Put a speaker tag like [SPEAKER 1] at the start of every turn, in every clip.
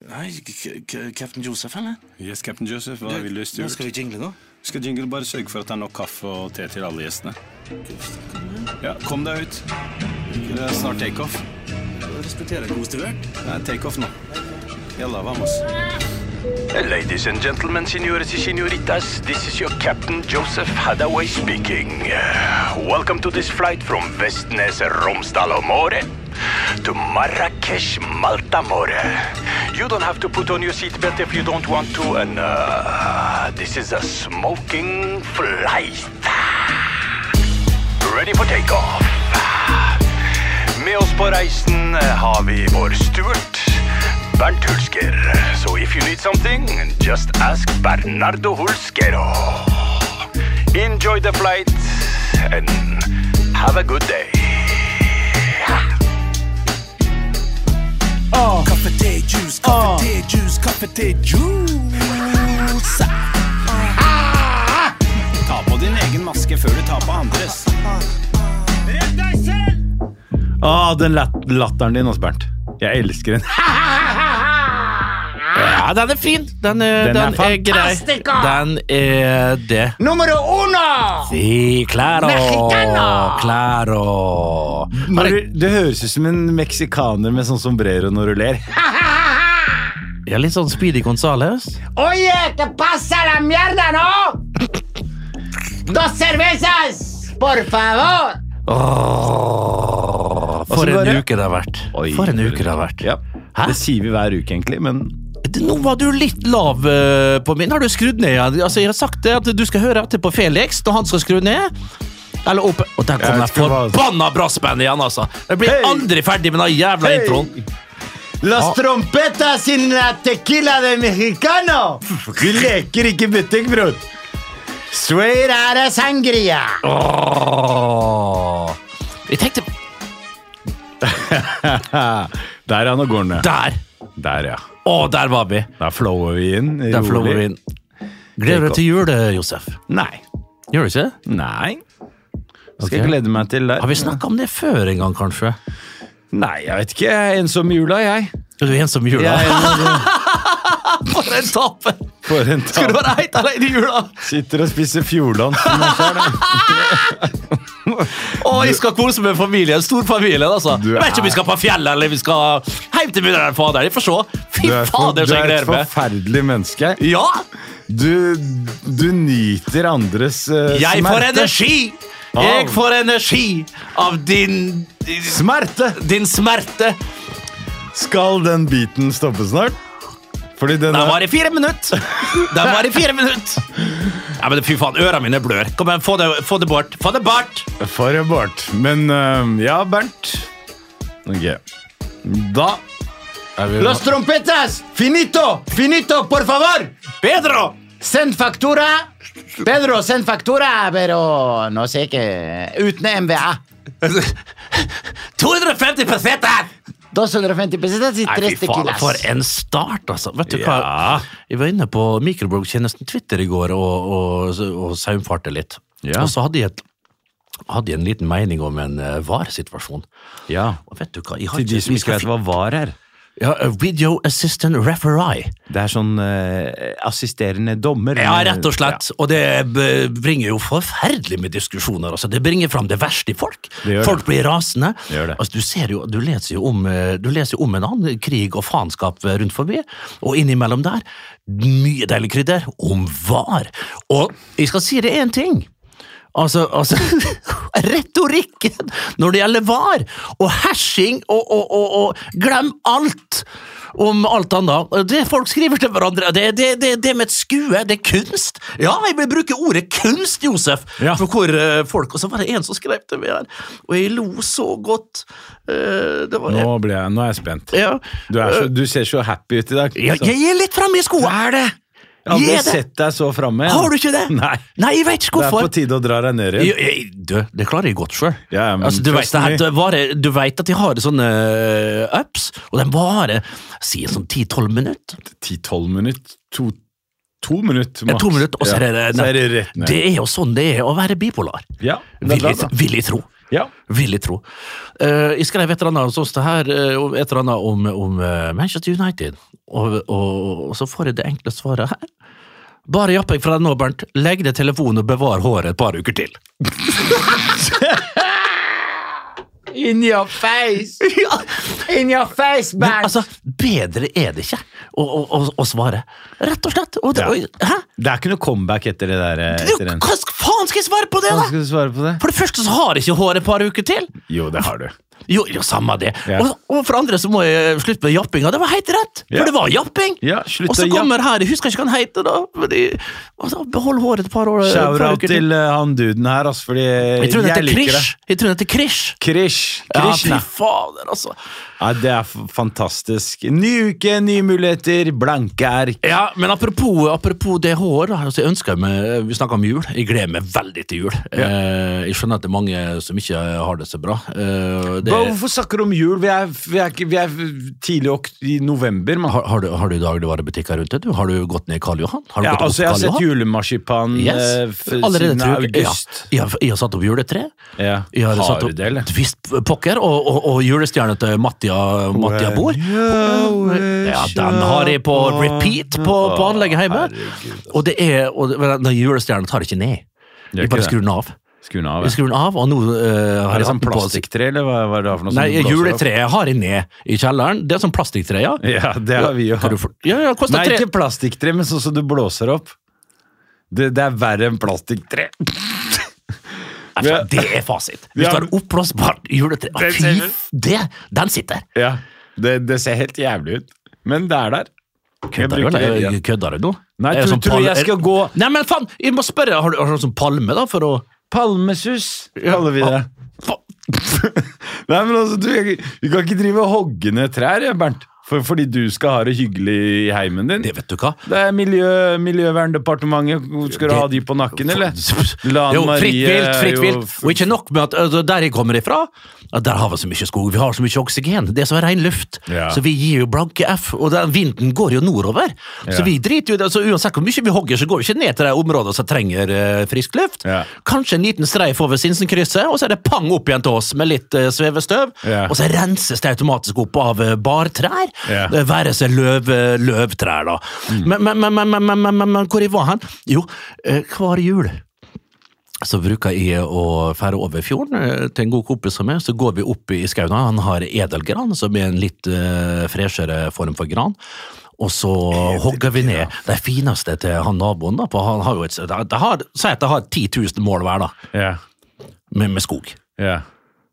[SPEAKER 1] Nei, k k Captain Joseph, eller?
[SPEAKER 2] Yes, Captain Joseph, hva vil du
[SPEAKER 1] Nå skal
[SPEAKER 2] Stuart?
[SPEAKER 1] vi jingle nå.
[SPEAKER 2] Skal Jingle bare sørge for at det er nok kaffe og te til alle gjestene? Ja, kom deg ut. Det er snart takeoff.
[SPEAKER 1] Respekterer god Stuart.
[SPEAKER 2] Det er takeoff nå. Jalla, vamos.
[SPEAKER 3] Ladies and gentlemen, senores y senoritas, this is your captain Joseph Hadaway speaking. Welcome to this flight from Vestnes Romsdalomore to Marrakesh Maltamore. You don't have to put on your seatbelt if you don't want to, and uh, this is a smoking flight. Ready for takeoff. Med oss på reisen har vi vår Stuart, Bernt Hulsker. So if you need something, just ask Bernardo Hulskero. Enjoy the flight and have a good day.
[SPEAKER 1] Kaffe, te, juice, kaffe, te, juice, kaffe, te, juice.
[SPEAKER 2] Ta på din egen maske før du tar på andres.
[SPEAKER 4] Ah, den lat latteren din også, Bernt. Jeg elsker den.
[SPEAKER 5] Ja, den er fin. Den er,
[SPEAKER 4] Den
[SPEAKER 5] den
[SPEAKER 4] er
[SPEAKER 5] er, grei. Den er det. Numero uno! Si, claro. Claro.
[SPEAKER 4] Når du, det høres ut som en meksikaner med sånn sombrero når du ler.
[SPEAKER 5] Ja, litt sånn Speedy Gonzales.
[SPEAKER 6] Oye, ¿qué pasa la mierda, no? Dos cervezas, por favor.
[SPEAKER 5] Åh, for
[SPEAKER 4] Åssen går
[SPEAKER 5] en
[SPEAKER 4] det?
[SPEAKER 5] uke det har vært.
[SPEAKER 4] Oi,
[SPEAKER 5] for en uke det har vært.
[SPEAKER 4] Ja.
[SPEAKER 5] Hæ?
[SPEAKER 4] Det sier vi hver uke, egentlig, men
[SPEAKER 5] Nå var du litt lav eh, på min. Har du skrudd ned igjen? Altså, jeg har sagt det at du skal høre etter på Felix når han skal skru ned. Eller opp Og der kom
[SPEAKER 4] Jeg
[SPEAKER 5] det
[SPEAKER 4] vet ikke hva-
[SPEAKER 5] forbanna brassbandet igjen, altså! Jeg blir
[SPEAKER 4] Hei!
[SPEAKER 5] aldri ferdig med den jævla introen.
[SPEAKER 4] Las
[SPEAKER 5] Ah.
[SPEAKER 4] trompetas sin la tequila de mexicano! Vi leker ikke butikk, bror. Swear out of sangria.
[SPEAKER 5] Åh. Jeg tenkte
[SPEAKER 4] Der er han og går ned.
[SPEAKER 5] Der!
[SPEAKER 4] Der, ja.
[SPEAKER 5] Å, der var vi.
[SPEAKER 4] Der flower vi inn.
[SPEAKER 5] Der
[SPEAKER 4] rolig.
[SPEAKER 5] flår vi inn. Gleder du deg til jul, eh, Josef?
[SPEAKER 4] Nei.
[SPEAKER 5] Gjør du ikke? det?
[SPEAKER 4] Nei. Skal
[SPEAKER 5] Ok.
[SPEAKER 4] jeg glede meg til der.
[SPEAKER 5] Har vi snakka om det før en gang, kanskje?
[SPEAKER 4] Nei, jeg vet ikke. Jeg er ensom i jula, jeg.
[SPEAKER 5] Er du ensom i jula?
[SPEAKER 4] jeg er ensom-
[SPEAKER 5] For en taper!
[SPEAKER 4] for en
[SPEAKER 5] Skal du
[SPEAKER 4] tap.
[SPEAKER 5] være helt alene i jula?
[SPEAKER 4] Sitter og spiser fjordland.
[SPEAKER 5] Å, jeg skal kose med familien. Stor familie, altså.
[SPEAKER 4] Du
[SPEAKER 5] Jeg vet ikke om
[SPEAKER 4] er-
[SPEAKER 5] vi skal på fjellet eller vi skal hjem til mudder'n og faderen. Jeg får se. Fy
[SPEAKER 4] Du er, for, du
[SPEAKER 5] fader, så jeg
[SPEAKER 4] er et
[SPEAKER 5] gleder meg.
[SPEAKER 4] forferdelig menneske.
[SPEAKER 5] Ja,
[SPEAKER 4] Du, du nyter andres eh,
[SPEAKER 5] jeg får
[SPEAKER 4] smerte.
[SPEAKER 5] energi! Jeg
[SPEAKER 4] Av-
[SPEAKER 5] får energi av din
[SPEAKER 4] Smerte!
[SPEAKER 5] din smerte.
[SPEAKER 4] Skal den biten stoppe snart? Fordi den
[SPEAKER 5] Den
[SPEAKER 4] er-
[SPEAKER 5] var i fire minutter! Den var i fire minutter! Ja, men fy faen, ørene mine blør. Kom igjen, få det, få det bort. Få det bort!
[SPEAKER 4] For en bart. Men eh, ja, Bernt. Ok. Da er vi
[SPEAKER 6] Los trompetas, finito, finito, por favor.
[SPEAKER 5] Pedro!
[SPEAKER 6] Send factura. Pedro, send factura, pero no sé qué. Uten MVA.
[SPEAKER 5] 250 pesetter!
[SPEAKER 6] 250 pesetas pues, y
[SPEAKER 5] Nei,
[SPEAKER 6] tres
[SPEAKER 5] fy faen,
[SPEAKER 6] tequilas.
[SPEAKER 5] for eh. en start, altså. Vet du hva? Jeg var inne på mikroblogg-tjenesten Twitter i går og, og, og saumfarte litt.
[SPEAKER 4] Ja.
[SPEAKER 5] Og så hadde jeg, et, hadde jeg en liten mening om en eh, var-situasjon.
[SPEAKER 4] Ja.
[SPEAKER 5] Og vet du hva? Jeg har
[SPEAKER 4] Til de
[SPEAKER 5] ikke-
[SPEAKER 4] som
[SPEAKER 5] vi skal
[SPEAKER 4] ikke vet hva VAR er.
[SPEAKER 5] fi- ja, a Video Assistant Referee. Eh,
[SPEAKER 4] Det er sånn eh, assisterende dommer.
[SPEAKER 5] Ja, rett og slett. Og det b- bringer jo forferdelig med diskusjoner. Altså. Det bringer fram det verste i folk.
[SPEAKER 4] gjør det.
[SPEAKER 5] Folk blir rasende.
[SPEAKER 4] Det gjør det.
[SPEAKER 5] Altså, du, ser jo, du, leser jo om, eh, du leser jo om en annen krig og faenskap eh, rundt forbi, og innimellom der mye deilig krydder om var. Og jeg skal si det én ting. Altså, altså Retorikken når det gjelder var, og hersing og, og, og, og glem alt om alt annet. Det folk skriver til hverandre, det, det, det, det med et skue, det er kunst. Ja, jeg vil bruke ordet kunst, Josef,
[SPEAKER 4] Ja.
[SPEAKER 5] for hvor eh, folk Og så var det en som skrev til meg her, og jeg lo så godt. Eh, det var
[SPEAKER 4] Nå, blir jeg, nå er jeg spent.
[SPEAKER 5] Ja. Eh,
[SPEAKER 4] Du, er så, du ser så happy ut i dag.
[SPEAKER 5] Ja,
[SPEAKER 4] Så-
[SPEAKER 5] jeg er litt framme i skoa. Er det?
[SPEAKER 4] Jeg har
[SPEAKER 5] Jeg
[SPEAKER 4] aldri
[SPEAKER 5] er det.
[SPEAKER 4] sett deg så framme. igjen.
[SPEAKER 5] Har du ikke det?
[SPEAKER 4] Nei.
[SPEAKER 5] Nei, jeg vet ikke
[SPEAKER 4] Det er
[SPEAKER 5] hvorfor.
[SPEAKER 4] på tide å dra deg ned
[SPEAKER 5] Jeg,
[SPEAKER 4] igjen.
[SPEAKER 5] jeg, du, det klarer jeg godt sjøl.
[SPEAKER 4] Ja, ja, men
[SPEAKER 5] altså, du, vet,
[SPEAKER 4] trust
[SPEAKER 5] det her,
[SPEAKER 4] me.
[SPEAKER 5] det varer- du vet at jeg har sånne eh, ups, og den varer si sånn 10-12 minutter.
[SPEAKER 4] 10-12 minutter. To, to minutter,
[SPEAKER 5] Eh,
[SPEAKER 4] maks.
[SPEAKER 5] To minutter, og så er det,
[SPEAKER 4] Ja, så er det rett ned.
[SPEAKER 5] Det er jo sånn det er å være bipolar.
[SPEAKER 4] Ja, det er
[SPEAKER 5] Vil jeg,
[SPEAKER 4] bra, da.
[SPEAKER 5] vil jeg tro.
[SPEAKER 4] Ja.
[SPEAKER 5] Vil jeg tro. Eh, jeg skrev et eller annet hos oss det her, eh, om- et eller annet om, om eh, Manchester United, Og, og, og så får jeg det enkle svaret her. Bare japp deg fra deg nå, Bernt. Legg ned telefonen og bevar håret et par uker til.
[SPEAKER 6] In your face! In your face,
[SPEAKER 5] Men
[SPEAKER 6] Bernt!
[SPEAKER 5] altså, bedre er det ikke å, å, å, å svare. Rett og slett. Og det,
[SPEAKER 7] Ja.
[SPEAKER 5] og, hæ?
[SPEAKER 7] Det er ikke noe comeback etter det der. eh, Etter den.
[SPEAKER 5] Hva sk- faen skal jeg svare på det,
[SPEAKER 7] Hva
[SPEAKER 5] da?
[SPEAKER 7] skal du svare på det?
[SPEAKER 5] For det første så har jeg ikke hår et par uker til.
[SPEAKER 7] Jo, det har du.
[SPEAKER 5] Jo, jo samme det.
[SPEAKER 7] Ja.
[SPEAKER 5] Og, og for andre så må jeg eh, slutte med jappinga. Det var helt rett!
[SPEAKER 7] Ja.
[SPEAKER 5] For det var japping!
[SPEAKER 7] Ja, slutt
[SPEAKER 5] og så
[SPEAKER 7] å jappe.
[SPEAKER 5] kommer her, jeg husker ikke hva han heter, da. Fordi, og så behold håret et par år. et par
[SPEAKER 7] Shout-out
[SPEAKER 5] uker
[SPEAKER 7] til eh, han duden her, altså, fordi eh,
[SPEAKER 5] Jeg tror den
[SPEAKER 7] jeg
[SPEAKER 5] heter
[SPEAKER 7] liker det.
[SPEAKER 5] Krish. Jeg tror den heter Krish.
[SPEAKER 7] Krish.
[SPEAKER 5] Ja,
[SPEAKER 7] Krish
[SPEAKER 5] fy
[SPEAKER 7] ja,
[SPEAKER 5] fader, altså.
[SPEAKER 7] det er f- fantastisk. Ny uke, nye muligheter, blanke ark.
[SPEAKER 5] Ja, men apropos, apropos det hår, da, altså jeg ønsker meg, vi snakker om jul, jeg gleder meg veldig til jul. Eh, jeg skjønner at det er mange som ikke har det så bra. Eh, det,
[SPEAKER 7] Bro, hvorfor snakker du om jul? Vi er, vi er, ikke- vi er tidlig ok i november. Man.
[SPEAKER 5] har, har, du, har du dagligvarebutikker rundt deg? Du? Har du gått ned i Karl Johan? Har du
[SPEAKER 7] Ja,
[SPEAKER 5] gått opp
[SPEAKER 7] altså, jeg har
[SPEAKER 5] Karl
[SPEAKER 7] sett
[SPEAKER 5] Johan?
[SPEAKER 7] julemarsipan eh,
[SPEAKER 5] Yes.
[SPEAKER 7] f-
[SPEAKER 5] Allerede
[SPEAKER 7] siden
[SPEAKER 5] tror jeg-
[SPEAKER 7] august.
[SPEAKER 5] Ja, jeg, har- jeg har satt opp juletre.
[SPEAKER 7] Ja.
[SPEAKER 5] Jeg har satt
[SPEAKER 7] Har du
[SPEAKER 5] opp
[SPEAKER 7] det, eller?
[SPEAKER 5] visst pokker, og, og, og julestjerna til Mattia, Mattia Bor. Ja, den har jeg på repeat på, på anlegget hjemme. Og det er, og det- den julestjerna tar jeg ikke ned.
[SPEAKER 7] altså. Gjør
[SPEAKER 5] Jeg
[SPEAKER 7] ikke
[SPEAKER 5] bare
[SPEAKER 7] det.
[SPEAKER 5] skrur den av.
[SPEAKER 7] Skru den av.
[SPEAKER 5] Jeg
[SPEAKER 7] ja.
[SPEAKER 5] skrur den av, og nå eh, har
[SPEAKER 7] Er det
[SPEAKER 5] jeg
[SPEAKER 7] sånn
[SPEAKER 5] hatt den på
[SPEAKER 7] plastikktre, eller hva, hva er det for noe? som
[SPEAKER 5] Nei,
[SPEAKER 7] blåser opp?
[SPEAKER 5] juletreet har jeg ned i kjelleren. Det er sånn plastikktre, ja.
[SPEAKER 7] Ja, det har vi jo.
[SPEAKER 5] Kan du for- Ja, ja, koster
[SPEAKER 7] Nei,
[SPEAKER 5] tre
[SPEAKER 7] ikke plastikktre, men sånn som du blåser opp. Det, det er verre enn plastikktre.
[SPEAKER 5] Nei, faen, Det er fasit. Hvis
[SPEAKER 7] Ja.
[SPEAKER 5] du har oppblåsbart juletre Å,
[SPEAKER 7] Den
[SPEAKER 5] Fy,
[SPEAKER 7] ser du.
[SPEAKER 5] f- det, den sitter!
[SPEAKER 7] Ja, det, det ser helt jævlig ut. Men det er der. Jeg
[SPEAKER 5] Kødder du,
[SPEAKER 7] bruker det hele
[SPEAKER 5] eller?
[SPEAKER 7] tiden.
[SPEAKER 5] Kødder du nå?
[SPEAKER 7] Nei,
[SPEAKER 5] Er det
[SPEAKER 7] tror-
[SPEAKER 5] sånn
[SPEAKER 7] tror
[SPEAKER 5] pal-
[SPEAKER 7] jeg skal gå-
[SPEAKER 5] Nei, men faen! Jeg må spørre, har du, har du sånn palme, da, for å
[SPEAKER 7] Palmesus kaller vi det.
[SPEAKER 5] Fa-
[SPEAKER 7] Nei, men altså, du, jeg, du kan ikke drive og hogge ned trær, ja, Bernt. For, fordi du skal ha det hyggelig i heimen din.
[SPEAKER 5] Det vet du hva.
[SPEAKER 7] Det er miljø, Miljøverndepartementet. Skal du
[SPEAKER 5] Det-
[SPEAKER 7] ha de på nakken, eller? La
[SPEAKER 5] jo,
[SPEAKER 7] Marie
[SPEAKER 5] fritt vilt, fritt
[SPEAKER 7] jo
[SPEAKER 5] vilt.
[SPEAKER 7] f-
[SPEAKER 5] Og ikke nok med at altså, der jeg kommer ifra, at der har vi så mye skog, vi har så mye oksygen, det er så ren luft.
[SPEAKER 7] Ja.
[SPEAKER 5] Så vi gir jo blanke F, og den vinden går jo nordover.
[SPEAKER 7] Ja.
[SPEAKER 5] Så vi driter jo i det, så uansett hvor mye vi hogger, så går vi ikke ned til de områdene som trenger eh, frisk luft.
[SPEAKER 7] Ja.
[SPEAKER 5] Kanskje en liten streif over Sinsenkrysset, og så er det pang opp igjen til oss med litt eh, svevestøv,
[SPEAKER 7] Ja.
[SPEAKER 5] og så renses det automatisk opp av eh, bartrær,
[SPEAKER 7] Ja.
[SPEAKER 5] eh, være seg løv, løvtrær da. Men, men, men, men, men, men, men, men, men hvor jeg var hen? Jo, eh, hver jul så bruker jeg å fære over fjorden eh, til en god kompis som er, så går vi opp i skauen. Han har edelgran, som er en litt uh, freshere form for gran. Og så hogger vi ned de fineste til han naboen, da, for han har jo et det- det har, Si at det har 10 000 mål hver, da,
[SPEAKER 7] Ja,
[SPEAKER 5] med, med skog.
[SPEAKER 7] ja.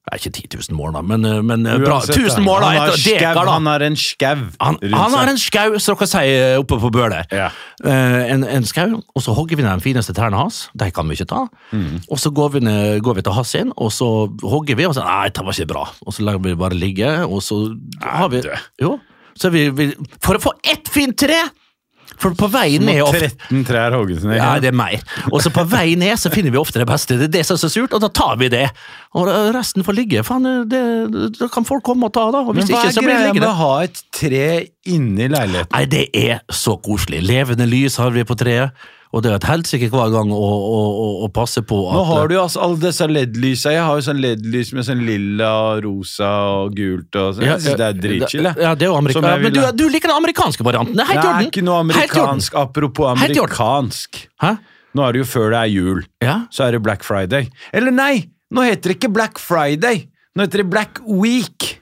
[SPEAKER 5] Det er ikke 10 000 mål, da, men, eh, men eh, bra.
[SPEAKER 7] Uansett, da.
[SPEAKER 5] 1000 mål, da!
[SPEAKER 7] Han har
[SPEAKER 5] etter dekar,
[SPEAKER 7] skau-
[SPEAKER 5] da.
[SPEAKER 7] Han har en skau
[SPEAKER 5] Han,
[SPEAKER 7] rundt
[SPEAKER 5] han har
[SPEAKER 7] seg.
[SPEAKER 5] en skau, som dere sier oppe på Bøler.
[SPEAKER 7] Ja.
[SPEAKER 5] Eh, en, en skau, og så hogger vi ned de fineste trærne hans. De kan vi ikke ta.
[SPEAKER 7] Mm.
[SPEAKER 5] Og så går vi, ned, går vi til hans sin, og så hogger vi, og så Nei, det var ikke bra. Og så lar vi det bare ligge, og så har vi
[SPEAKER 7] dø.
[SPEAKER 5] Jo. Så vi, vi For å få ett fint tre! For på vei ned
[SPEAKER 7] Og
[SPEAKER 5] ofte
[SPEAKER 7] 13 trær hogges ned.
[SPEAKER 5] ja, det er mer. Og så på vei ned så finner vi ofte det beste. Det er det som er så surt, og da tar vi det. Og resten får ligge. Faen, det, da kan folk komme og ta, da. Og
[SPEAKER 7] Men
[SPEAKER 5] hvis
[SPEAKER 7] hva
[SPEAKER 5] ikke,
[SPEAKER 7] er
[SPEAKER 5] så blir det
[SPEAKER 7] greia med
[SPEAKER 5] liggende.
[SPEAKER 7] å ha et tre inni leiligheten?
[SPEAKER 5] Nei, det er så koselig. Levende lys har vi på treet, og det er et helsike hver gang å, å, å, å passe på at
[SPEAKER 7] Nå har du jo altså alle disse LED-lysa. Jeg har jo sånn LED-lys med sånn lilla og rosa og gult og sånn.
[SPEAKER 5] Ja,
[SPEAKER 7] Jeg synes det er dritchill, jeg.
[SPEAKER 5] Ja, det er jo amerika-
[SPEAKER 7] Som jeg
[SPEAKER 5] Men du,
[SPEAKER 7] ville.
[SPEAKER 5] du liker den amerikanske varianten. Det er
[SPEAKER 7] Det
[SPEAKER 5] helt i
[SPEAKER 7] er
[SPEAKER 5] orden.
[SPEAKER 7] ikke noe
[SPEAKER 5] Helt i orden.
[SPEAKER 7] amerikansk. Apropos
[SPEAKER 5] Helt i orden.
[SPEAKER 7] amerikansk.
[SPEAKER 5] Hæ?
[SPEAKER 7] Nå er det jo før det er jul,
[SPEAKER 5] Ja.
[SPEAKER 7] så er det Black Friday. Eller nei, nå heter det ikke Black Friday. Nå heter det Black Week.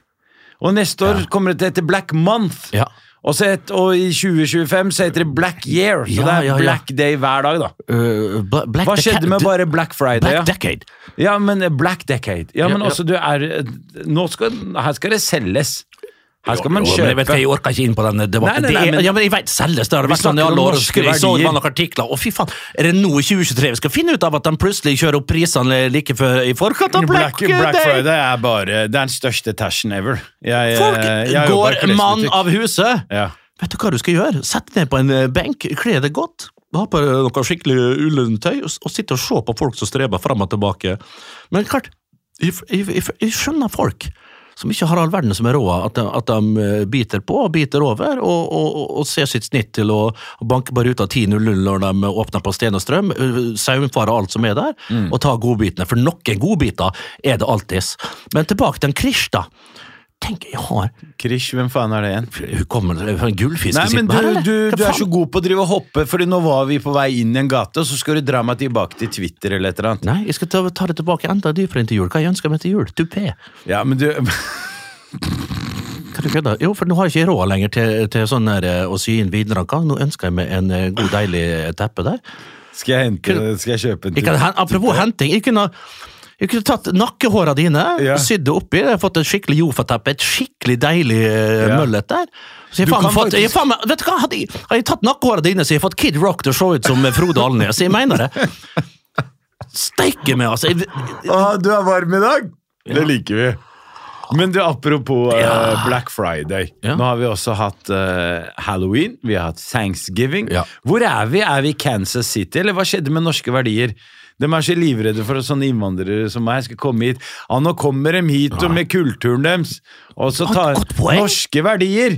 [SPEAKER 7] Og neste år kommer det til å hete Black Month.
[SPEAKER 5] Ja.
[SPEAKER 7] Og, så het, og i 2025 så heter det Black Year. Så
[SPEAKER 5] Ja,
[SPEAKER 7] det er
[SPEAKER 5] ja, ja.
[SPEAKER 7] Black Day hver dag, da.
[SPEAKER 5] Øh, Bla- Black
[SPEAKER 7] Hva
[SPEAKER 5] Deca-
[SPEAKER 7] skjedde med bare Black Friday?
[SPEAKER 5] Black
[SPEAKER 7] ja?
[SPEAKER 5] Decade?
[SPEAKER 7] Ja, men Black Decade. Ja, men
[SPEAKER 5] ja.
[SPEAKER 7] også du er nå skal, Her skal det selges. Her skal man
[SPEAKER 5] Jo, men jeg vet ikke,
[SPEAKER 7] kjøpe.
[SPEAKER 5] jeg orker ikke inn på den debatten.
[SPEAKER 7] Nei, nei, nei,
[SPEAKER 5] det er,
[SPEAKER 7] men-
[SPEAKER 5] ja, men jeg vet, selges det har det
[SPEAKER 7] Vi
[SPEAKER 5] vært sånn i
[SPEAKER 7] snakker
[SPEAKER 5] alle
[SPEAKER 7] om
[SPEAKER 5] år.
[SPEAKER 7] norske
[SPEAKER 5] Jeg så det
[SPEAKER 7] verdier.
[SPEAKER 5] var noen artikler, og fy faen, er det nå i 2023 vi skal finne ut av at de plutselig kjører opp prisene like før i forkant av
[SPEAKER 7] Black,
[SPEAKER 5] Black,
[SPEAKER 7] Black
[SPEAKER 5] Day?
[SPEAKER 7] Friday er bare Det er den største tashen ever. Jeg,
[SPEAKER 5] Folk
[SPEAKER 7] eh, jeg jobber i
[SPEAKER 5] går
[SPEAKER 7] klesbutikk.
[SPEAKER 5] mann av huset!
[SPEAKER 7] ja.
[SPEAKER 5] Vet du hva du skal gjøre? Sett deg ned på en eh, benk, kle deg godt, ha på deg noe skikkelig ullundertøy og, s- og sitte og se på folk som streber fram og tilbake. Men klart, jeg, f- jeg, jeg, jeg skjønner folk som ikke har all verden som er råd, at de, at de eh, biter på og biter over, og, og, og, og ser sitt snitt til å banke bare ut av 10.00 når de åpner på Sten og Strøm, eh, saumfare alt som er der, og ta godbitene, for noen godbiter er det alltids. Men tilbake til en Krish, da. Tenk, jeg har
[SPEAKER 7] Krish, hvem faen er det igjen?
[SPEAKER 5] Hun kommer fra en gullfisk
[SPEAKER 7] Nei,
[SPEAKER 5] i sitt
[SPEAKER 7] men du,
[SPEAKER 5] bær, eller?
[SPEAKER 7] du,
[SPEAKER 5] Hva
[SPEAKER 7] du er
[SPEAKER 5] faen?
[SPEAKER 7] så god på å drive og hoppe, Fordi nå var vi på vei inn i en gate, og så skal du dra meg tilbake til Twitter eller et eller annet.
[SPEAKER 5] Nei, jeg skal ta, ta det tilbake enda dypere inn til jul. Hva jeg ønsker meg til jul? Tupé.
[SPEAKER 7] Ja, men du
[SPEAKER 5] Kan du kødde? Jo, for nå har jeg ikke råd lenger til, til sånn der, eh, å sy inn vidranker. Nå ønsker jeg meg en eh, god, deilig eh, teppe der.
[SPEAKER 7] Skal jeg hente Skal jeg kjøpe en
[SPEAKER 5] Jeg kan, hen- apropos henting, jeg kunne, jeg kunne tatt nakkehåra dine
[SPEAKER 7] Ja.
[SPEAKER 5] og sydd det oppi. Jeg har fått et skikkelig jofateppe, et skikkelig deilig eh,
[SPEAKER 7] Ja.
[SPEAKER 5] møllet der. Så jeg
[SPEAKER 7] Du
[SPEAKER 5] faen
[SPEAKER 7] kan
[SPEAKER 5] meg fått, jeg
[SPEAKER 7] faktisk-
[SPEAKER 5] faen, meg- vet du hva, hadde jeg, hadde jeg tatt nakkehåra dine, så jeg fått Kid Rock til å se ut som eh, Frode Alnes. Jeg mener det. Steike meg, altså. Jeg,
[SPEAKER 7] Å, du er varm i dag! Det liker vi. Men du, apropos eh, Black Friday.
[SPEAKER 5] Ja.
[SPEAKER 7] Nå har vi også hatt eh, Halloween, vi har hatt Thanksgiving.
[SPEAKER 5] Ja.
[SPEAKER 7] Hvor er vi? Er vi i Kansas City, eller hva skjedde med norske verdier? De er så livredde for at sånne innvandrere som meg skal komme hit. Ja, nå kommer de hit og med kulturen deres, og så
[SPEAKER 5] Godt-
[SPEAKER 7] tar
[SPEAKER 5] godt poeng.
[SPEAKER 7] norske verdier.